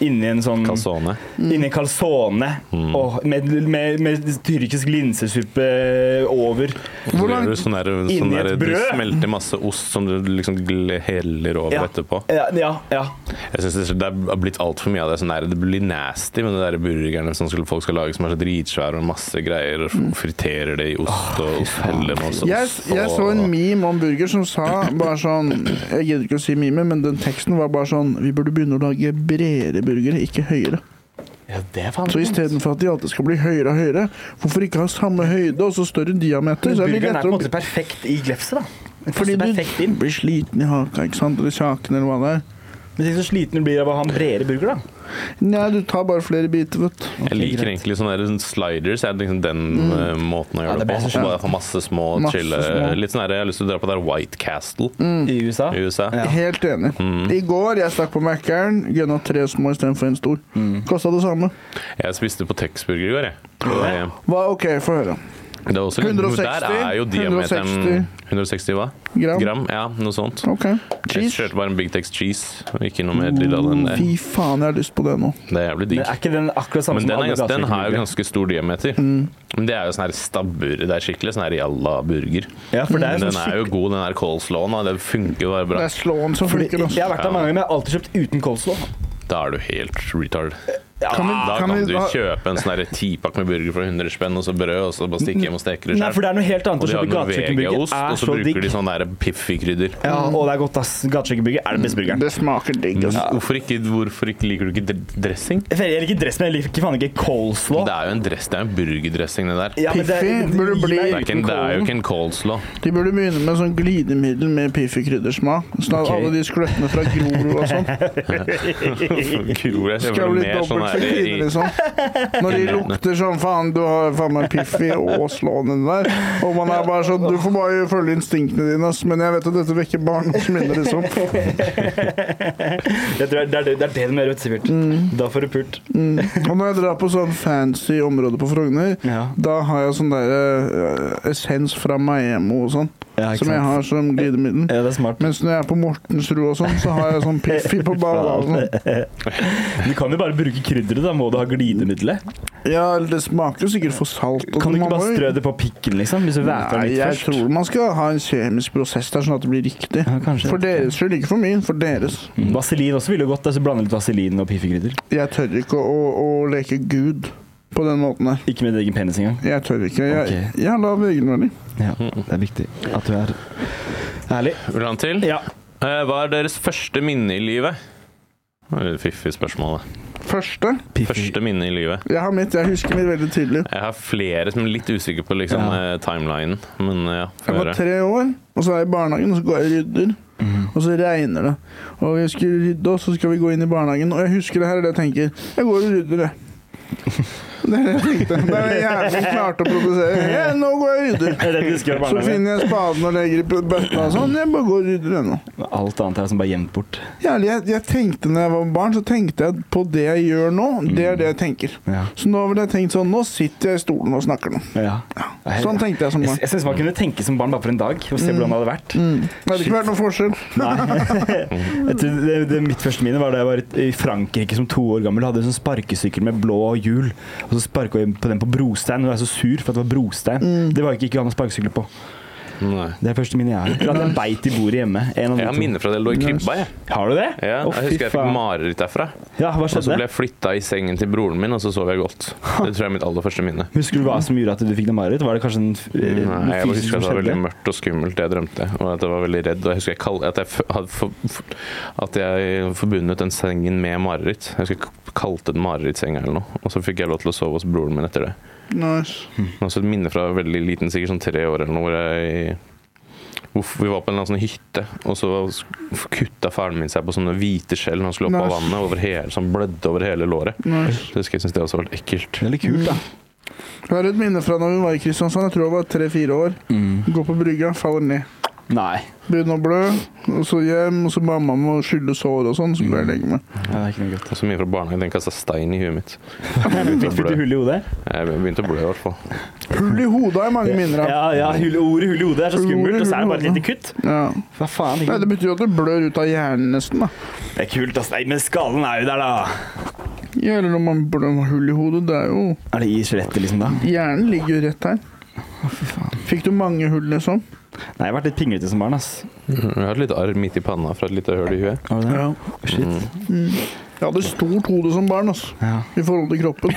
A: Inni en sånn
B: Calzone.
C: Mm.
B: Mm.
A: Inni en calzone. Og med, med, med tyrkisk linsesuppe over.
B: Og så
C: Hvor
B: blir
C: langt-
B: du sånn der,
A: Inni
B: sånn der
A: et
B: du
A: brød?
B: smelter masse ost som du liksom gl- heller over
A: Ja.
B: etterpå.
A: Ja, ja. ja.
B: Jeg synes det, det er blitt altfor mye av det. Sånn der, det blir nasty med de der burgerne som skulle, folk skal lage som er så dritsvære og masse greier, og
C: Mm.
B: friterer det i ost og ost heller med også
C: Jeg,
B: ost.
C: jeg så en meme om burger som sa bare sånn Jeg gidder ikke å si meme, men den teksten var bare sånn Vi burde begynne å lage bredere burgere, ikke høyere.
A: ja det er faen
C: Så istedenfor at de alltid skal bli høyere og høyere, hvorfor ikke ha samme høyde og så større diameter? Så er det
A: Burgeren er på en måte
C: lettere å
A: perfekt i glefset, da. Den
C: Fordi
A: passer perfekt
C: du
A: inn.
C: blir sliten i haka, ikke sant? Eller kjaken, eller hva det er.
A: Men tenk så sliten du blir av å ha en bredere burger, da.
C: Nei, du tar bare flere biter, vet du.
B: Jeg liker
A: greit.
B: egentlig sånne der sånn sliders. Er liksom den eh, måten å
A: Ja,
B: gjøre
A: det
B: det
A: blir
B: på.
A: så
B: Bare få masse små,
C: Mm. Masse
B: chille
C: små.
B: Litt sånn her, Jeg har lyst til å dra på der White Castle
C: Mm.
A: I USA.
B: i USA. Mm.
A: Ja. Mm.
C: Helt enig. I går jeg stakk på Mækkern, gønna tre små istedenfor en stor.
A: Mm.
C: Kosta det samme.
B: Jeg spiste på Texburger i går, jeg. Eh,
C: Hva, OK, få høre.
B: Det er også,
C: 160,
B: der er jo diameteren 160 hva?
C: Gram.
B: Gram, ja, noe sånt.
C: OK.
B: Jeg
C: Cheese.
B: kjørte bare en Big Tex cheese. og Ikke noe mer lilla enn det.
C: Fy faen, jeg har lyst på det nå.
B: Det er jævlig
A: Men
B: digg.
A: er ikke den akkurat samme
B: Men den,
A: som
B: er,
A: alle Mm.
B: den har jo
A: gateburgere?
B: ganske stor diameter. Men det er jo sånn her stabbur. Det er skikkelig sånn her jalla burger.
A: Ja, for det er
B: Men
A: sånn
B: Mm. den er jo god, den her coleslawen. og Det funker jo bare
C: Det
B: bra.
C: er slåen som
A: Fordi
C: funker,
A: jeg
C: altså.
A: har vært der mange ganger, men jeg har alltid kjøpt uten coleslaw.
B: Da er du helt retard.
A: Ja,
C: Kan vi-
B: Da kan,
C: vi
B: du
C: da-
B: kjøpe en sånn derre tipakk med burger for 100 spenn, og så brød, og så bare stikke hjem og steke det
A: Nei,
B: selv.
A: for det er noe helt
B: Og
A: annet å
B: de har
A: kjøpe gatekjøkkenburger.
B: Norvegia-ost, og
A: Er
B: så
A: så
B: bruker
A: digg.
B: de Mm. sånn derre Piffi-krydder.
A: Ja, og det er godt, ass. Gatekjøkkenburger er den
B: Mm.
A: beste burgeren.
C: Det smaker digg. ass.
B: Hvorfor, ikke, hvorfor ikke liker du ikke dr- dressing?
A: Jeg liker ikke dress, men jeg liker faen ikke coleslaw.
B: Det er jo en dress, det er en burgerdressing, det der.
A: Ja, men det-
C: Piffi
A: det
C: burde
A: gir
C: bli-
B: Det
A: meg
B: er, ikke en, det er jo ikke en coleslaw.
C: De burde begynne med sånn glidemiddel med piffi-kryddersmak. Sånn
B: Ok.
C: at alle de skløttene fra Grorud og
B: [LAUGHS]
C: sånn
B: Kul, jeg ser
C: skal
B: for
C: bli
B: mer sånn
C: dobbelt
B: her i-
C: så fine, liksom. Når de lukter sånn Faen, du har faen meg Piffi og slående der. Og man er bare sånn Du får bare følge instinktene dine, ass. Men jeg vet at dette vekker barndomsminner, liksom.
A: Jeg tror det er det, det er det de gjør, vet du, Sivert.
C: Mm.
A: Da får du pult.
C: Og når jeg drar på sånn fancy område på Frogner,
A: Ja.
C: da har jeg sånn der eh, essens fra Maemo og sånn,
A: Ja, ikke
C: som jeg
A: sant.
C: har som glidemiddel.
A: Ja, det er smart.
C: Mens når jeg er på Mortensrud og sånn, så har jeg sånn Piffi på sånn. ballen.
A: Du kan jo bare bruke krydderet, da må du ha glidemiddelet.
C: Ja, eller det smaker jo sikkert for salt. og sånn,
A: Kan du
C: man
A: ikke bare
C: må jo-
A: strø det på pikken, liksom? Hvis du væter den
C: Nei,
A: litt
C: jeg
A: først.
C: tror man skal ha en kjemisk prosess der, sånn at det blir riktig.
A: Ja, kanskje.
C: For deres skyld, ikke for min. For deres.
A: Mm. Vaselin også ville jo godt. Altså blande litt vaselin og piffekrydder.
C: Jeg tør ikke å, å, å leke Gud på den måten der.
A: Ikke med din egen penis engang.
C: Jeg tør ikke. Jeg,
A: Ok.
C: jeg har lav egenverdi.
A: Ja, det er viktig at du er ærlig.
B: Vil du ha en til?
A: Ja.
B: Eh, hva er deres første minne i livet? Det var et Fiffig spørsmål. da.
C: Første
B: Første minne i livet.
C: Jeg har mitt. Jeg husker mitt veldig tydelig.
B: Jeg har flere som er litt usikker på liksom,
A: Ja.
B: eh, timelinen, men eh, ja,
C: Jeg
B: få
C: var
B: høre.
C: tre år, og så er jeg i barnehagen, og så går jeg og rydder. Og så regner det. Og vi skal rydde, og så skal vi gå inn i barnehagen. Og jeg husker det her, og det jeg tenker Jeg går og rydder, jeg. Det er det jeg tenkte. Det er jævlig klart å produsere. Ja, nå går jeg og rydder.
A: Det er det du husker fra
C: Så
A: barnehagen.
C: finner jeg spaden og legger i bøtta og sånn. Jeg bare går og rydder ennå.
A: Alt annet er som bare gjemt bort.
C: Jævlig, jeg, jeg tenkte når jeg var barn, så tenkte jeg på det jeg gjør nå. Det er det jeg tenker.
A: Ja.
C: Så nå ville jeg tenkt sånn Nå sitter jeg i stolen og snakker nå.
A: Ja.
C: Sånn tenkte jeg som
A: Jeg,
C: barn. Mm.
A: jeg syns man kunne tenke som barn bare for en dag, og se hvordan det hadde vært.
C: Det hadde ikke vært noen forskjell. [LAUGHS]
A: Nei. Jeg tror det, det, mitt første minne var da jeg var i- i Frankrike som to år gammel. Hadde en sånn sparkesykkel med blå hjul. Og så sparka jeg på den på brostein, og jeg var så sur for at det var brostein.
C: Mm.
A: Det var ikke ikke å ha noen sparkesykler på.
B: Nei.
A: Det er det første minnet jeg har. Eller at jeg beit i bordet hjemme. En av de
B: eh, Jeg har
A: to.
B: minner fra det jeg lå i krybba. Jeg.
A: Har du det?
B: Ja,
A: Å,
B: jeg
A: fy
B: husker jeg fikk
A: faen.
B: mareritt derfra.
A: Ja, hva
B: Og så ble
A: skjedde?
B: jeg flytta i sengen til broren min, og så sov jeg godt. Det tror jeg er mitt aller første minne.
A: Husker du hva som gjorde at du fikk det mareritt? Var det kanskje en f-
B: Mm, Nei,
A: eh,
B: jeg bare
A: fysisk
B: husker
A: som
B: at det var veldig
A: skjedde?
B: mørkt og skummelt, det jeg drømte. Og at jeg var veldig redd. Og jeg husker jeg kall, at, jeg f hadde for, for, at jeg forbundet den sengen med mareritt. Jeg husker jeg kalte den marerittssenga eller noe. Og så fikk jeg lov til å sove hos broren min etter det.
C: Nice.
B: Men også et minne fra veldig liten, sikkert sånn tre år eller noe, hvor jeg hvor vi var på en eller annen sånn hytte, og så sk- kutta faren min seg på sånne hvite skjell når han skulle opp av
C: Nei.
B: vannet, over hele, så han blødde over hele låret.
C: nice.
B: Så husker jeg synes det også var litt ekkelt.
A: Veldig kult, da.
C: Jeg har et minne fra da vi var i Kristiansand. Jeg tror jeg var tre-fire år. Går på brygga, faller ned.
A: Nei.
C: Begynner å blø. Og så hjem, og så mamma må skylle sår og sånn. Så blir jeg legge meg.
A: Ja, det er ikke noe godt.
B: [LAUGHS] Det var så mye fra barnehagen, den kasta stein i huet mitt.
A: Fikk fikk du hull i hodet?
B: Jeg begynte å blø i hvert fall.
C: Hull i hodet har jeg mange minner av.
A: Ja, ja hull, ordet hull i hodet er så
C: Ordet
A: skummelt, og så er det bare et
C: hull i
A: lite kutt.
C: Ja.
A: Hva faen?
C: Nei,
A: Ikke?
C: det betyr jo at du blør ut av hjernen nesten, da.
A: Det er kult, ass. Nei, men skallen er jo der, da.
C: Ja, Eller når man blør med hull i hodet. Det er jo
A: Er det i skjelettet, liksom, da?
C: Hjernen ligger jo rett her. Fikk du mange hull, liksom?
A: Nei, jeg har vært litt pinglete som barn, ass.
B: Mhm. Jeg har et lite arr midt i panna fra et lite høl i huet.
A: Har du det? Shit.
C: Mm. Jeg hadde stort hode som barn, altså.
A: Ja.
C: I forhold til kroppen.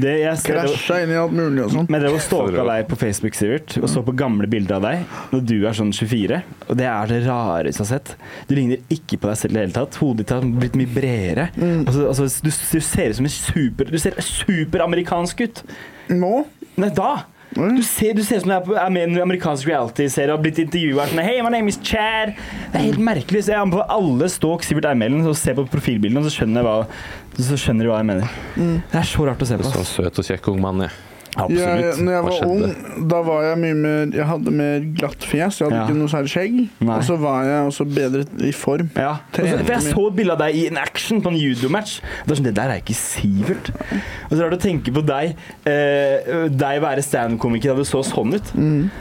A: Det, jeg [LAUGHS] ser det
C: Krasja inn i alt mulig og sånn.
A: Men jeg drev og stalka deg på Facebook, Sivert, og så på gamle bilder av deg når du er sånn 24. Og det er det rareste jeg har sett. Du ligner ikke på deg selv i det hele tatt. Hodet ditt har blitt mye bredere.
C: Mm.
A: Altså, altså, du, du ser ut som en super Du ser superamerikansk ut.
C: Nå?
A: Nei, da!
C: Oi.
A: Du ser, du ser ut som du er, på, er med i en amerikansk reality-serie og har blitt intervjua sånn Hei, my name is Chad. Det er helt merkelig. Så jeg anbefaler alle stalk Sivert Eimelen og se på profilbildene, og så skjønner, jeg hva, så skjønner du hva jeg mener. Det er så rart å se på.
B: Sånn
A: ass.
B: søt og kjekk ung mann, jeg.
C: Jeg, når jeg
B: Hva
C: var ung, da var jeg mye mer Jeg hadde mer glatt fjes. Jeg hadde
A: Ja.
C: ikke noe særlig skjegg.
A: Nei.
C: Og så var jeg også bedre i form.
A: Ja. Og så, for jeg så et bilde av deg i en action på en judomatch. Og Det er sånn, det der er ikke Sivert. Og så er det å tenke på deg eh, Deg være standup-komiker da du så sånn ut.
C: Mm.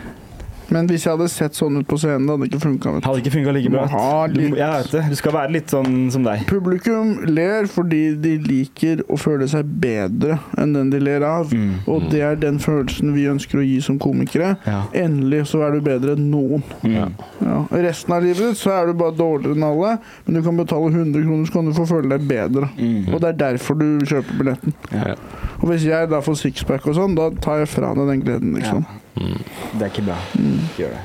C: Men hvis jeg hadde sett sånn ut på scenen, det hadde ikke funka.
A: Hadde ikke funka like
C: Du må
A: bra.
C: ha
A: Du, må-
C: litt-
A: jeg vet det. Du skal være litt sånn som deg.
C: Publikum ler fordi de liker å føle seg bedre enn den de ler av.
A: Mm.
C: Og det er den følelsen vi ønsker å gi som komikere.
A: Ja.
C: Endelig så er du bedre enn noen.
A: Ja.
C: Ja. Resten av livet ditt så er du bare dårligere enn alle, men du kan betale 100 kroner, så kan du få føle deg bedre.
A: Mm.
C: Og det er derfor du kjøper billetten.
B: Ja.
C: Og hvis jeg da får sixpack og sånn, da tar jeg fra deg den gleden, liksom.
A: Mm. Det er ikke bra.
C: Mm.
A: Ikke gjør det.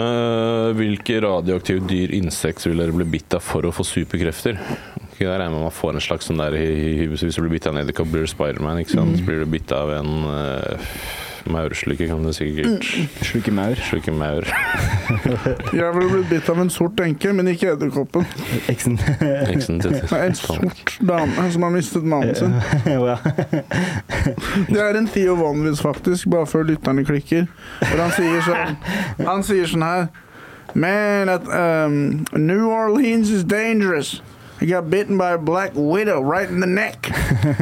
B: Eh, hvilke radioaktive dyr, insekter vil dere bli bitt av for å få superkrefter? Ok, Jeg regner med man får en slags sånn der i, i, Hvis du blir bitt av en edderkopp, blir du Spiderman. ikke sant?
C: Mm.
B: Så blir du bitt av en uh, maursluker, kan du sikkert
C: Mm.
A: Sluke maur.
B: sluke maur.
C: Jeg ville blitt bitt av en sort enke, men ikke edderkoppen.
A: Eksen. [LAUGHS] Å
B: Eksen til-
C: Nei, en sort dame som har mistet mannen sin.
A: ja.
C: Det er en Theo Vanwitz, faktisk, bare før lytterne klikker. For han sier sånn, han sier sånn her Man, at, um, New Orleans is dangerous. I got bitten by a black widow right in the neck.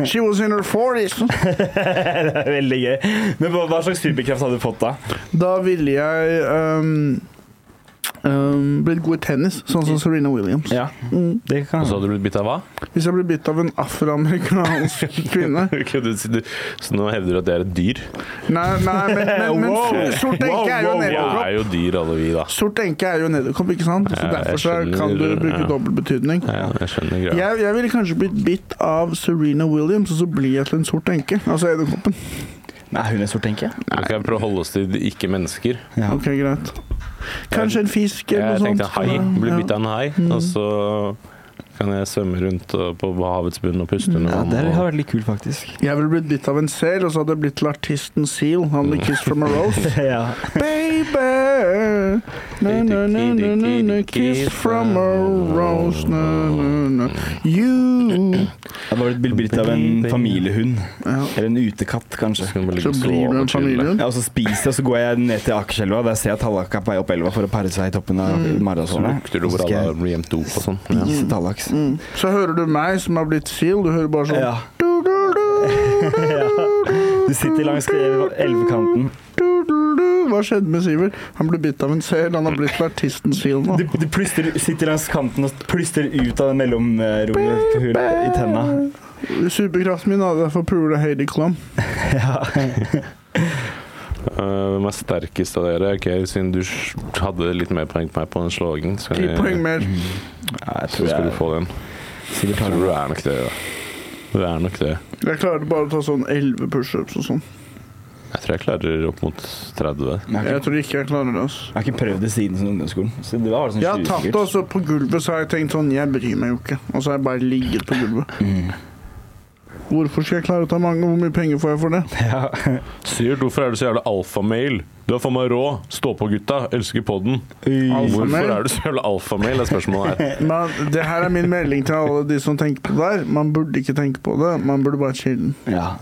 C: She was in her 40s.
A: Det er veldig gøy. Men hva, hva slags superkraft hadde du fått da?
C: Da ville jeg um, um, blitt god i tennis, sånn som Serena Williams. Mm.
A: Ja, det kan
B: Og så hadde du blitt bitt av hva? [LAUGHS]
C: Hvis jeg ble bitt av en afroamerikansk kvinne
B: Ok, du- du- Så nå hevder du at det er et dyr?
C: Nei, nei men, men, men
A: Wow.
C: sort
A: Wow,
C: enke er jo en
A: wow, wow.
B: Vi
C: edderkopp.
B: er jo dyr, alle vi, da.
C: Sort enke er jo en edderkopp, ikke sant? Så
B: Ja, jeg
C: derfor så
B: skjønner,
C: kan du bruke
B: ja.
C: dobbeltbetydning.
B: Ja, jeg skjønner greia.
C: Jeg, jeg ville kanskje blitt bitt av Serena Williams, og så blir jeg til en sort enke. Altså edderkoppen.
A: Nei, hun er sort, tenker jeg.
B: Nå skal jeg prøve å holde oss til de ikke-mennesker.
A: Ja.
C: Ok, greit. Kanskje en fisk
B: Jeg
C: eller noe sånt.
B: tenkte hai. Blir
C: Ja. Mm.
B: bitt av en hai, og så kan jeg svømme rundt og- på havets bunn og puste under
A: Ja,
B: vann.
A: det
B: og-
A: vært litt kult, faktisk.
C: Jeg ville blitt bitt av en sel, og så hadde jeg blitt til artisten Seal. Han hadde Kiss from a Rose.
A: [LAUGHS] ja.
C: Baby! Na, na, na, na, na, na, kiss from a rose. Na, na, na. You!
A: Det var blitt bildet av en familiehund.
C: Ja.
A: Eller en utekatt, kanskje.
B: Så kan man ligge
C: Så
B: og
C: blir
B: sove
C: du
B: og
C: en
B: chille.
C: familie.
A: Ja, og så spiser jeg, og så går jeg ned til Akerselva, der ser jeg at Tallak er på vei opp elva for å pare seg i toppen av
B: Så
A: Maradalsåret.
B: lukter du hvor alle har blitt gjemt dop og sånn. Ja.
A: Spise tallaks.
C: Mm. Så hører du meg som har blitt Seal. Du hører bare sånn
A: Ja.
C: [LAUGHS] du, du, du,
A: ja. Du sitter langs eh, elvekanten.
C: du, du, du. Hva skjedde med Sivert? Han ble bitt av en sel. Han har blitt til artisten Seal nå.
A: Du, du plystrer, sitter langs kanten og plystrer ut av det mellomrommet på hull- i tenna.
C: Superkraften min hadde jeg for å pule Heidi Klum.
B: Øh, hvem er sterkest av dere? Ok, Siden du s- hadde litt mer poeng på meg på den slåingen, så,
C: Ti poeng
B: jeg,
C: mer.
A: Ja, jeg
B: så
A: tror
B: skal du
A: jeg
B: få den. Jeg
A: sikkert
B: tror
A: tar
B: du
A: det.
B: er nok det. da. Du er nok det.
C: Jeg klarte bare å ta sånn 11 pushups og sånn.
B: Jeg tror jeg klarer opp mot 30.
A: Men Jeg har
C: Jeg
A: ikke,
C: tror ikke jeg klarer det. Altså.
A: jeg har ikke prøvd det siden som ungdomsskolen. Så det var sånn
C: Jeg har
A: 20
C: tatt det
A: sikkert.
C: også på gulvet, så har jeg tenkt sånn Jeg bryr meg jo ikke. Og så har jeg bare ligget på gulvet.
A: Mm.
C: Hvorfor skal jeg klare å ta mange? Hvor mye penger får jeg for det?
A: [LAUGHS] Ja.
B: Sivert, hvorfor er du så jævla alfamail? Du er faen meg rå. Stå på, gutta. Elsker podden.
A: Ui.
B: Hvorfor
C: Alfamail?
B: er du så jævla alfamail, er spørsmålet [LAUGHS] her.
C: Men det her er min melding til alle de som tenker på det her. Man burde ikke tenke på det, man burde bare chille.
A: Ja.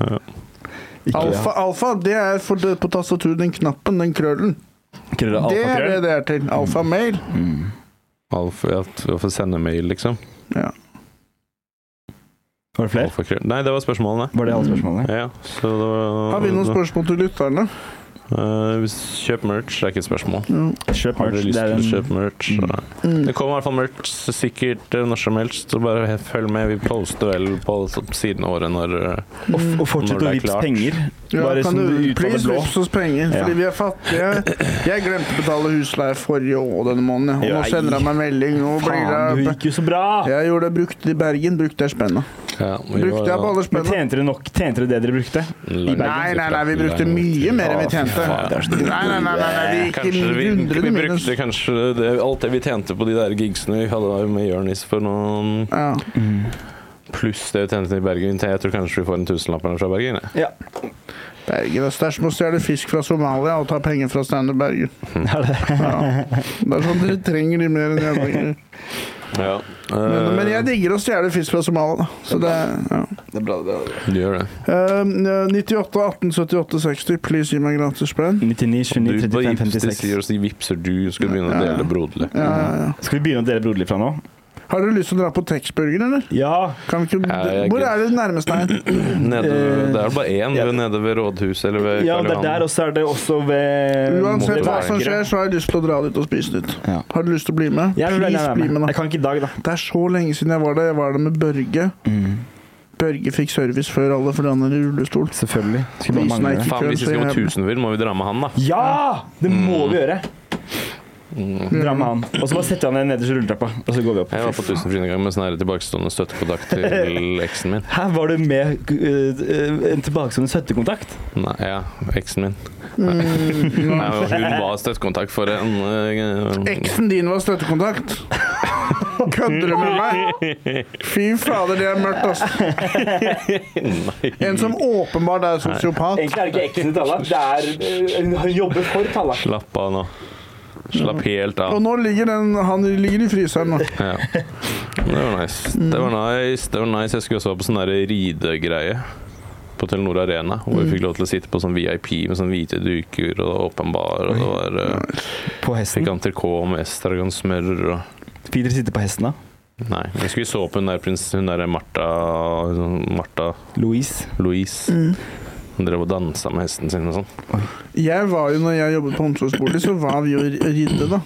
A: Ikke
C: Alfa, alfa, det er for det på tastaturet, den knappen, den krøllen.
A: Krøller
C: Det er det
A: alfakrøll.
C: det er til. Alfa
A: Mm.
C: mail.
B: Alf, ja, hvorfor sende mail, liksom?
C: Ja.
A: Var det flere?
B: Alfakrøll. Nei, det var spørsmålene.
A: Var det alle spørsmålene?
B: Ja, ja. så det var,
C: Har vi noen spørsmål til lytterne?
B: Eh, hvis- kjøp merch, det er ikke et spørsmål.
A: Kjøp
B: Har dere
A: merch.
B: lyst
A: Det er
B: til å
A: en
B: kjøpe merch?
A: Mm.
B: Nei. Det kommer i hvert fall merch sikkert eh, når som helst, så bare he- følg med. Vi poster vel på s- siden av året når eh,
A: Og, og
B: Når
A: fortsett
B: det
A: å
B: er
A: vippse
B: klart.
A: penger.
C: Mm. Ja,
A: Bare
C: kan
A: sånn
C: du
A: ut av det
C: please
A: blå.
C: vips oss penger, fordi
A: Ja.
C: vi er fattige. Jeg glemte å betale husleie forrige år denne måneden, og nå
A: Nei.
C: sender han meg melding. Nå
A: Faen,
C: blir
A: du
C: det
A: gikk jo så bra!
C: Jeg gjorde det brukte i Bergen, brukte jeg spenna.
B: ja, vi
C: Brukte jeg på alle
A: Men
C: spenna?
A: tjente dere nok? Tjente dere det dere brukte?
B: Lang-
C: Nei, nei, nei, vi brukte mye mer enn vi tjente.
B: Å, fy faen.
C: Nei, nei, nei, nei, nei vi gikk i
B: Kanskje vi, vi
C: hundrede minus.
B: brukte kanskje det, alt det vi tjente på de der gigsene vi hadde med Jonis for noen
C: Ja.
B: Mm. Pluss det vi tjente i Bergen. Jeg tror kanskje vi får en tusenlapp eller noe fra Bergen. jeg.
A: Ja.
C: Bergen er størst med å stjele fisk fra Somalia og ta penger fra Steinar
B: [LAUGHS]
C: Bergen. Ja. Det er sånn dere trenger de mer enn jeg trenger.
B: Ja.
C: Men,
B: Eh,
C: men jeg digger å stjele fisk fra Somalia, da. Så det, ja.
A: Det er bra, det er bra.
B: Du gjør det.
C: Eh, 98 18 78 60, please gi meg gratis spenn.
A: 99, 29,
B: Du
A: 35,
B: vipser,
A: 56.
B: sier oss de vipser du skal begynne å
C: Ja, ja. [CLEARS THROAT]
B: dele broderlig.
C: Ja, ja, ja.
A: Skal vi begynne å dele broderlig fra nå?
C: Har du lyst til å dra på Texburger, eller?
A: Ja.
C: Kan vi ikke,
B: Ja, jeg-
C: hvor er det nærmeste her?
B: Nede,
A: Eh,
B: det er bare én
A: ja.
B: ved- nede ved rådhuset eller ved
A: ja,
B: Karl
A: det er
B: Johan.
A: der, og så er det også ved
C: Uansett hva
B: motorveien.
C: som skjer, så har jeg lyst til å dra dit og spise litt.
A: Ja.
C: Har du lyst til å bli med?
A: Jeg vil veldig
C: Please,
A: gjerne
C: bli med,
A: være med.
C: da.
A: Jeg kan ikke i dag, da.
C: Det er så lenge siden jeg var der. Jeg var der med Børge.
A: Mm,
C: Børge fikk service før alle, fordi han er i rullestol.
A: Selvfølgelig.
C: bare Prisen er mangle det. ikke-
B: Faen, hvis vi skal gå
C: Kanskje jeg-
B: tusenfyll, må vi dra med han, da.
A: Ja! Det må
B: Mm.
A: vi gjøre. Dra med han. Og så bare setter vi han ned nederst i rulletrappa, og så går vi opp.
B: Jeg var på tusenfryd en gang med sånn her tilbakestående støttekontakt til eksen min.
A: Her var du med eh, en tilbakestående støttekontakt.
B: Nei, ja, eksen min. Nei, hun var støttekontakt for en eh,
C: Eksen din var støttekontakt. [LAUGHS] Kødder du med meg? Fy fader, det er mørkt, ass. En som åpenbart er sosiopat.
A: Egentlig er det ikke eksen til Tallak, det er eh, hun jobber for Tallak.
B: Slapp av nå. Slapp helt av.
C: Og nå ligger den Han ligger i fryseren nå.
B: Ja. Det var nice. Det var nice. Det var nice. Jeg skulle også være på sånn der ridegreie på Telenor Arena, hvor vi fikk lov til å sitte på sånn VIP med sånn hvite duker og det var åpen bar, og det var eh,
A: På hesten.
B: Fikk entrecôte med estragon-smør og
A: Peter sitter på hesten, da.
B: Nei. Jeg skulle så på hun der prins, hun der Martha Martha
A: Louise.
C: Mm.
B: Louise.
A: Mm.
B: Hun drev og dansa med hesten sin og sånn.
C: Jeg var jo, når jeg jobbet på omsorgsbolig, så var vi jo i ridde, da.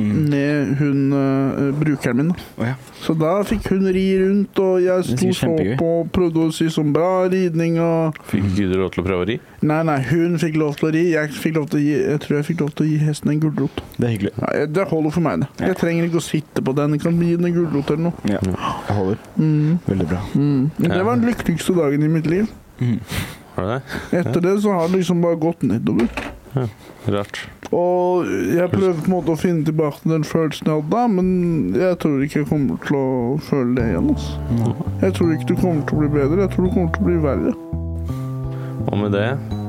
C: Med hun eh, brukeren min, da.
A: Mm. Å ja.
C: Så da fikk hun ri rundt, og jeg
A: Det er
C: sto og
A: sikkert
C: så
A: kjempegøy.
C: på og prøvde å si sånn bra ridning og
B: Fikk ikke du lov til å prøve å ri?
C: Nei, nei, hun fikk lov til å ri. Jeg, fikk lov til å gi, jeg tror jeg fikk lov til å gi hesten en gulrot.
A: Det er hyggelig.
C: Nei, Det holder for meg, det. Jeg trenger ikke å sitte på den. Jeg kan gi den en gulrot eller noe. Mm.
A: Ja. Jeg holder. Veldig bra. Mm.
C: Men det var den lykkeligste dagen i mitt liv.
B: Var det det?
C: Etter det så har det liksom bare gått nedover.
B: Rart.
C: Og jeg prøver på en måte å finne tilbake til den følelsen jeg hadde da, men jeg tror ikke jeg kommer til å føle det igjen.
A: 嗯
C: Altså. Jeg tror ikke du kommer til å bli bedre, jeg tror du kommer til å bli verre.
B: Og med det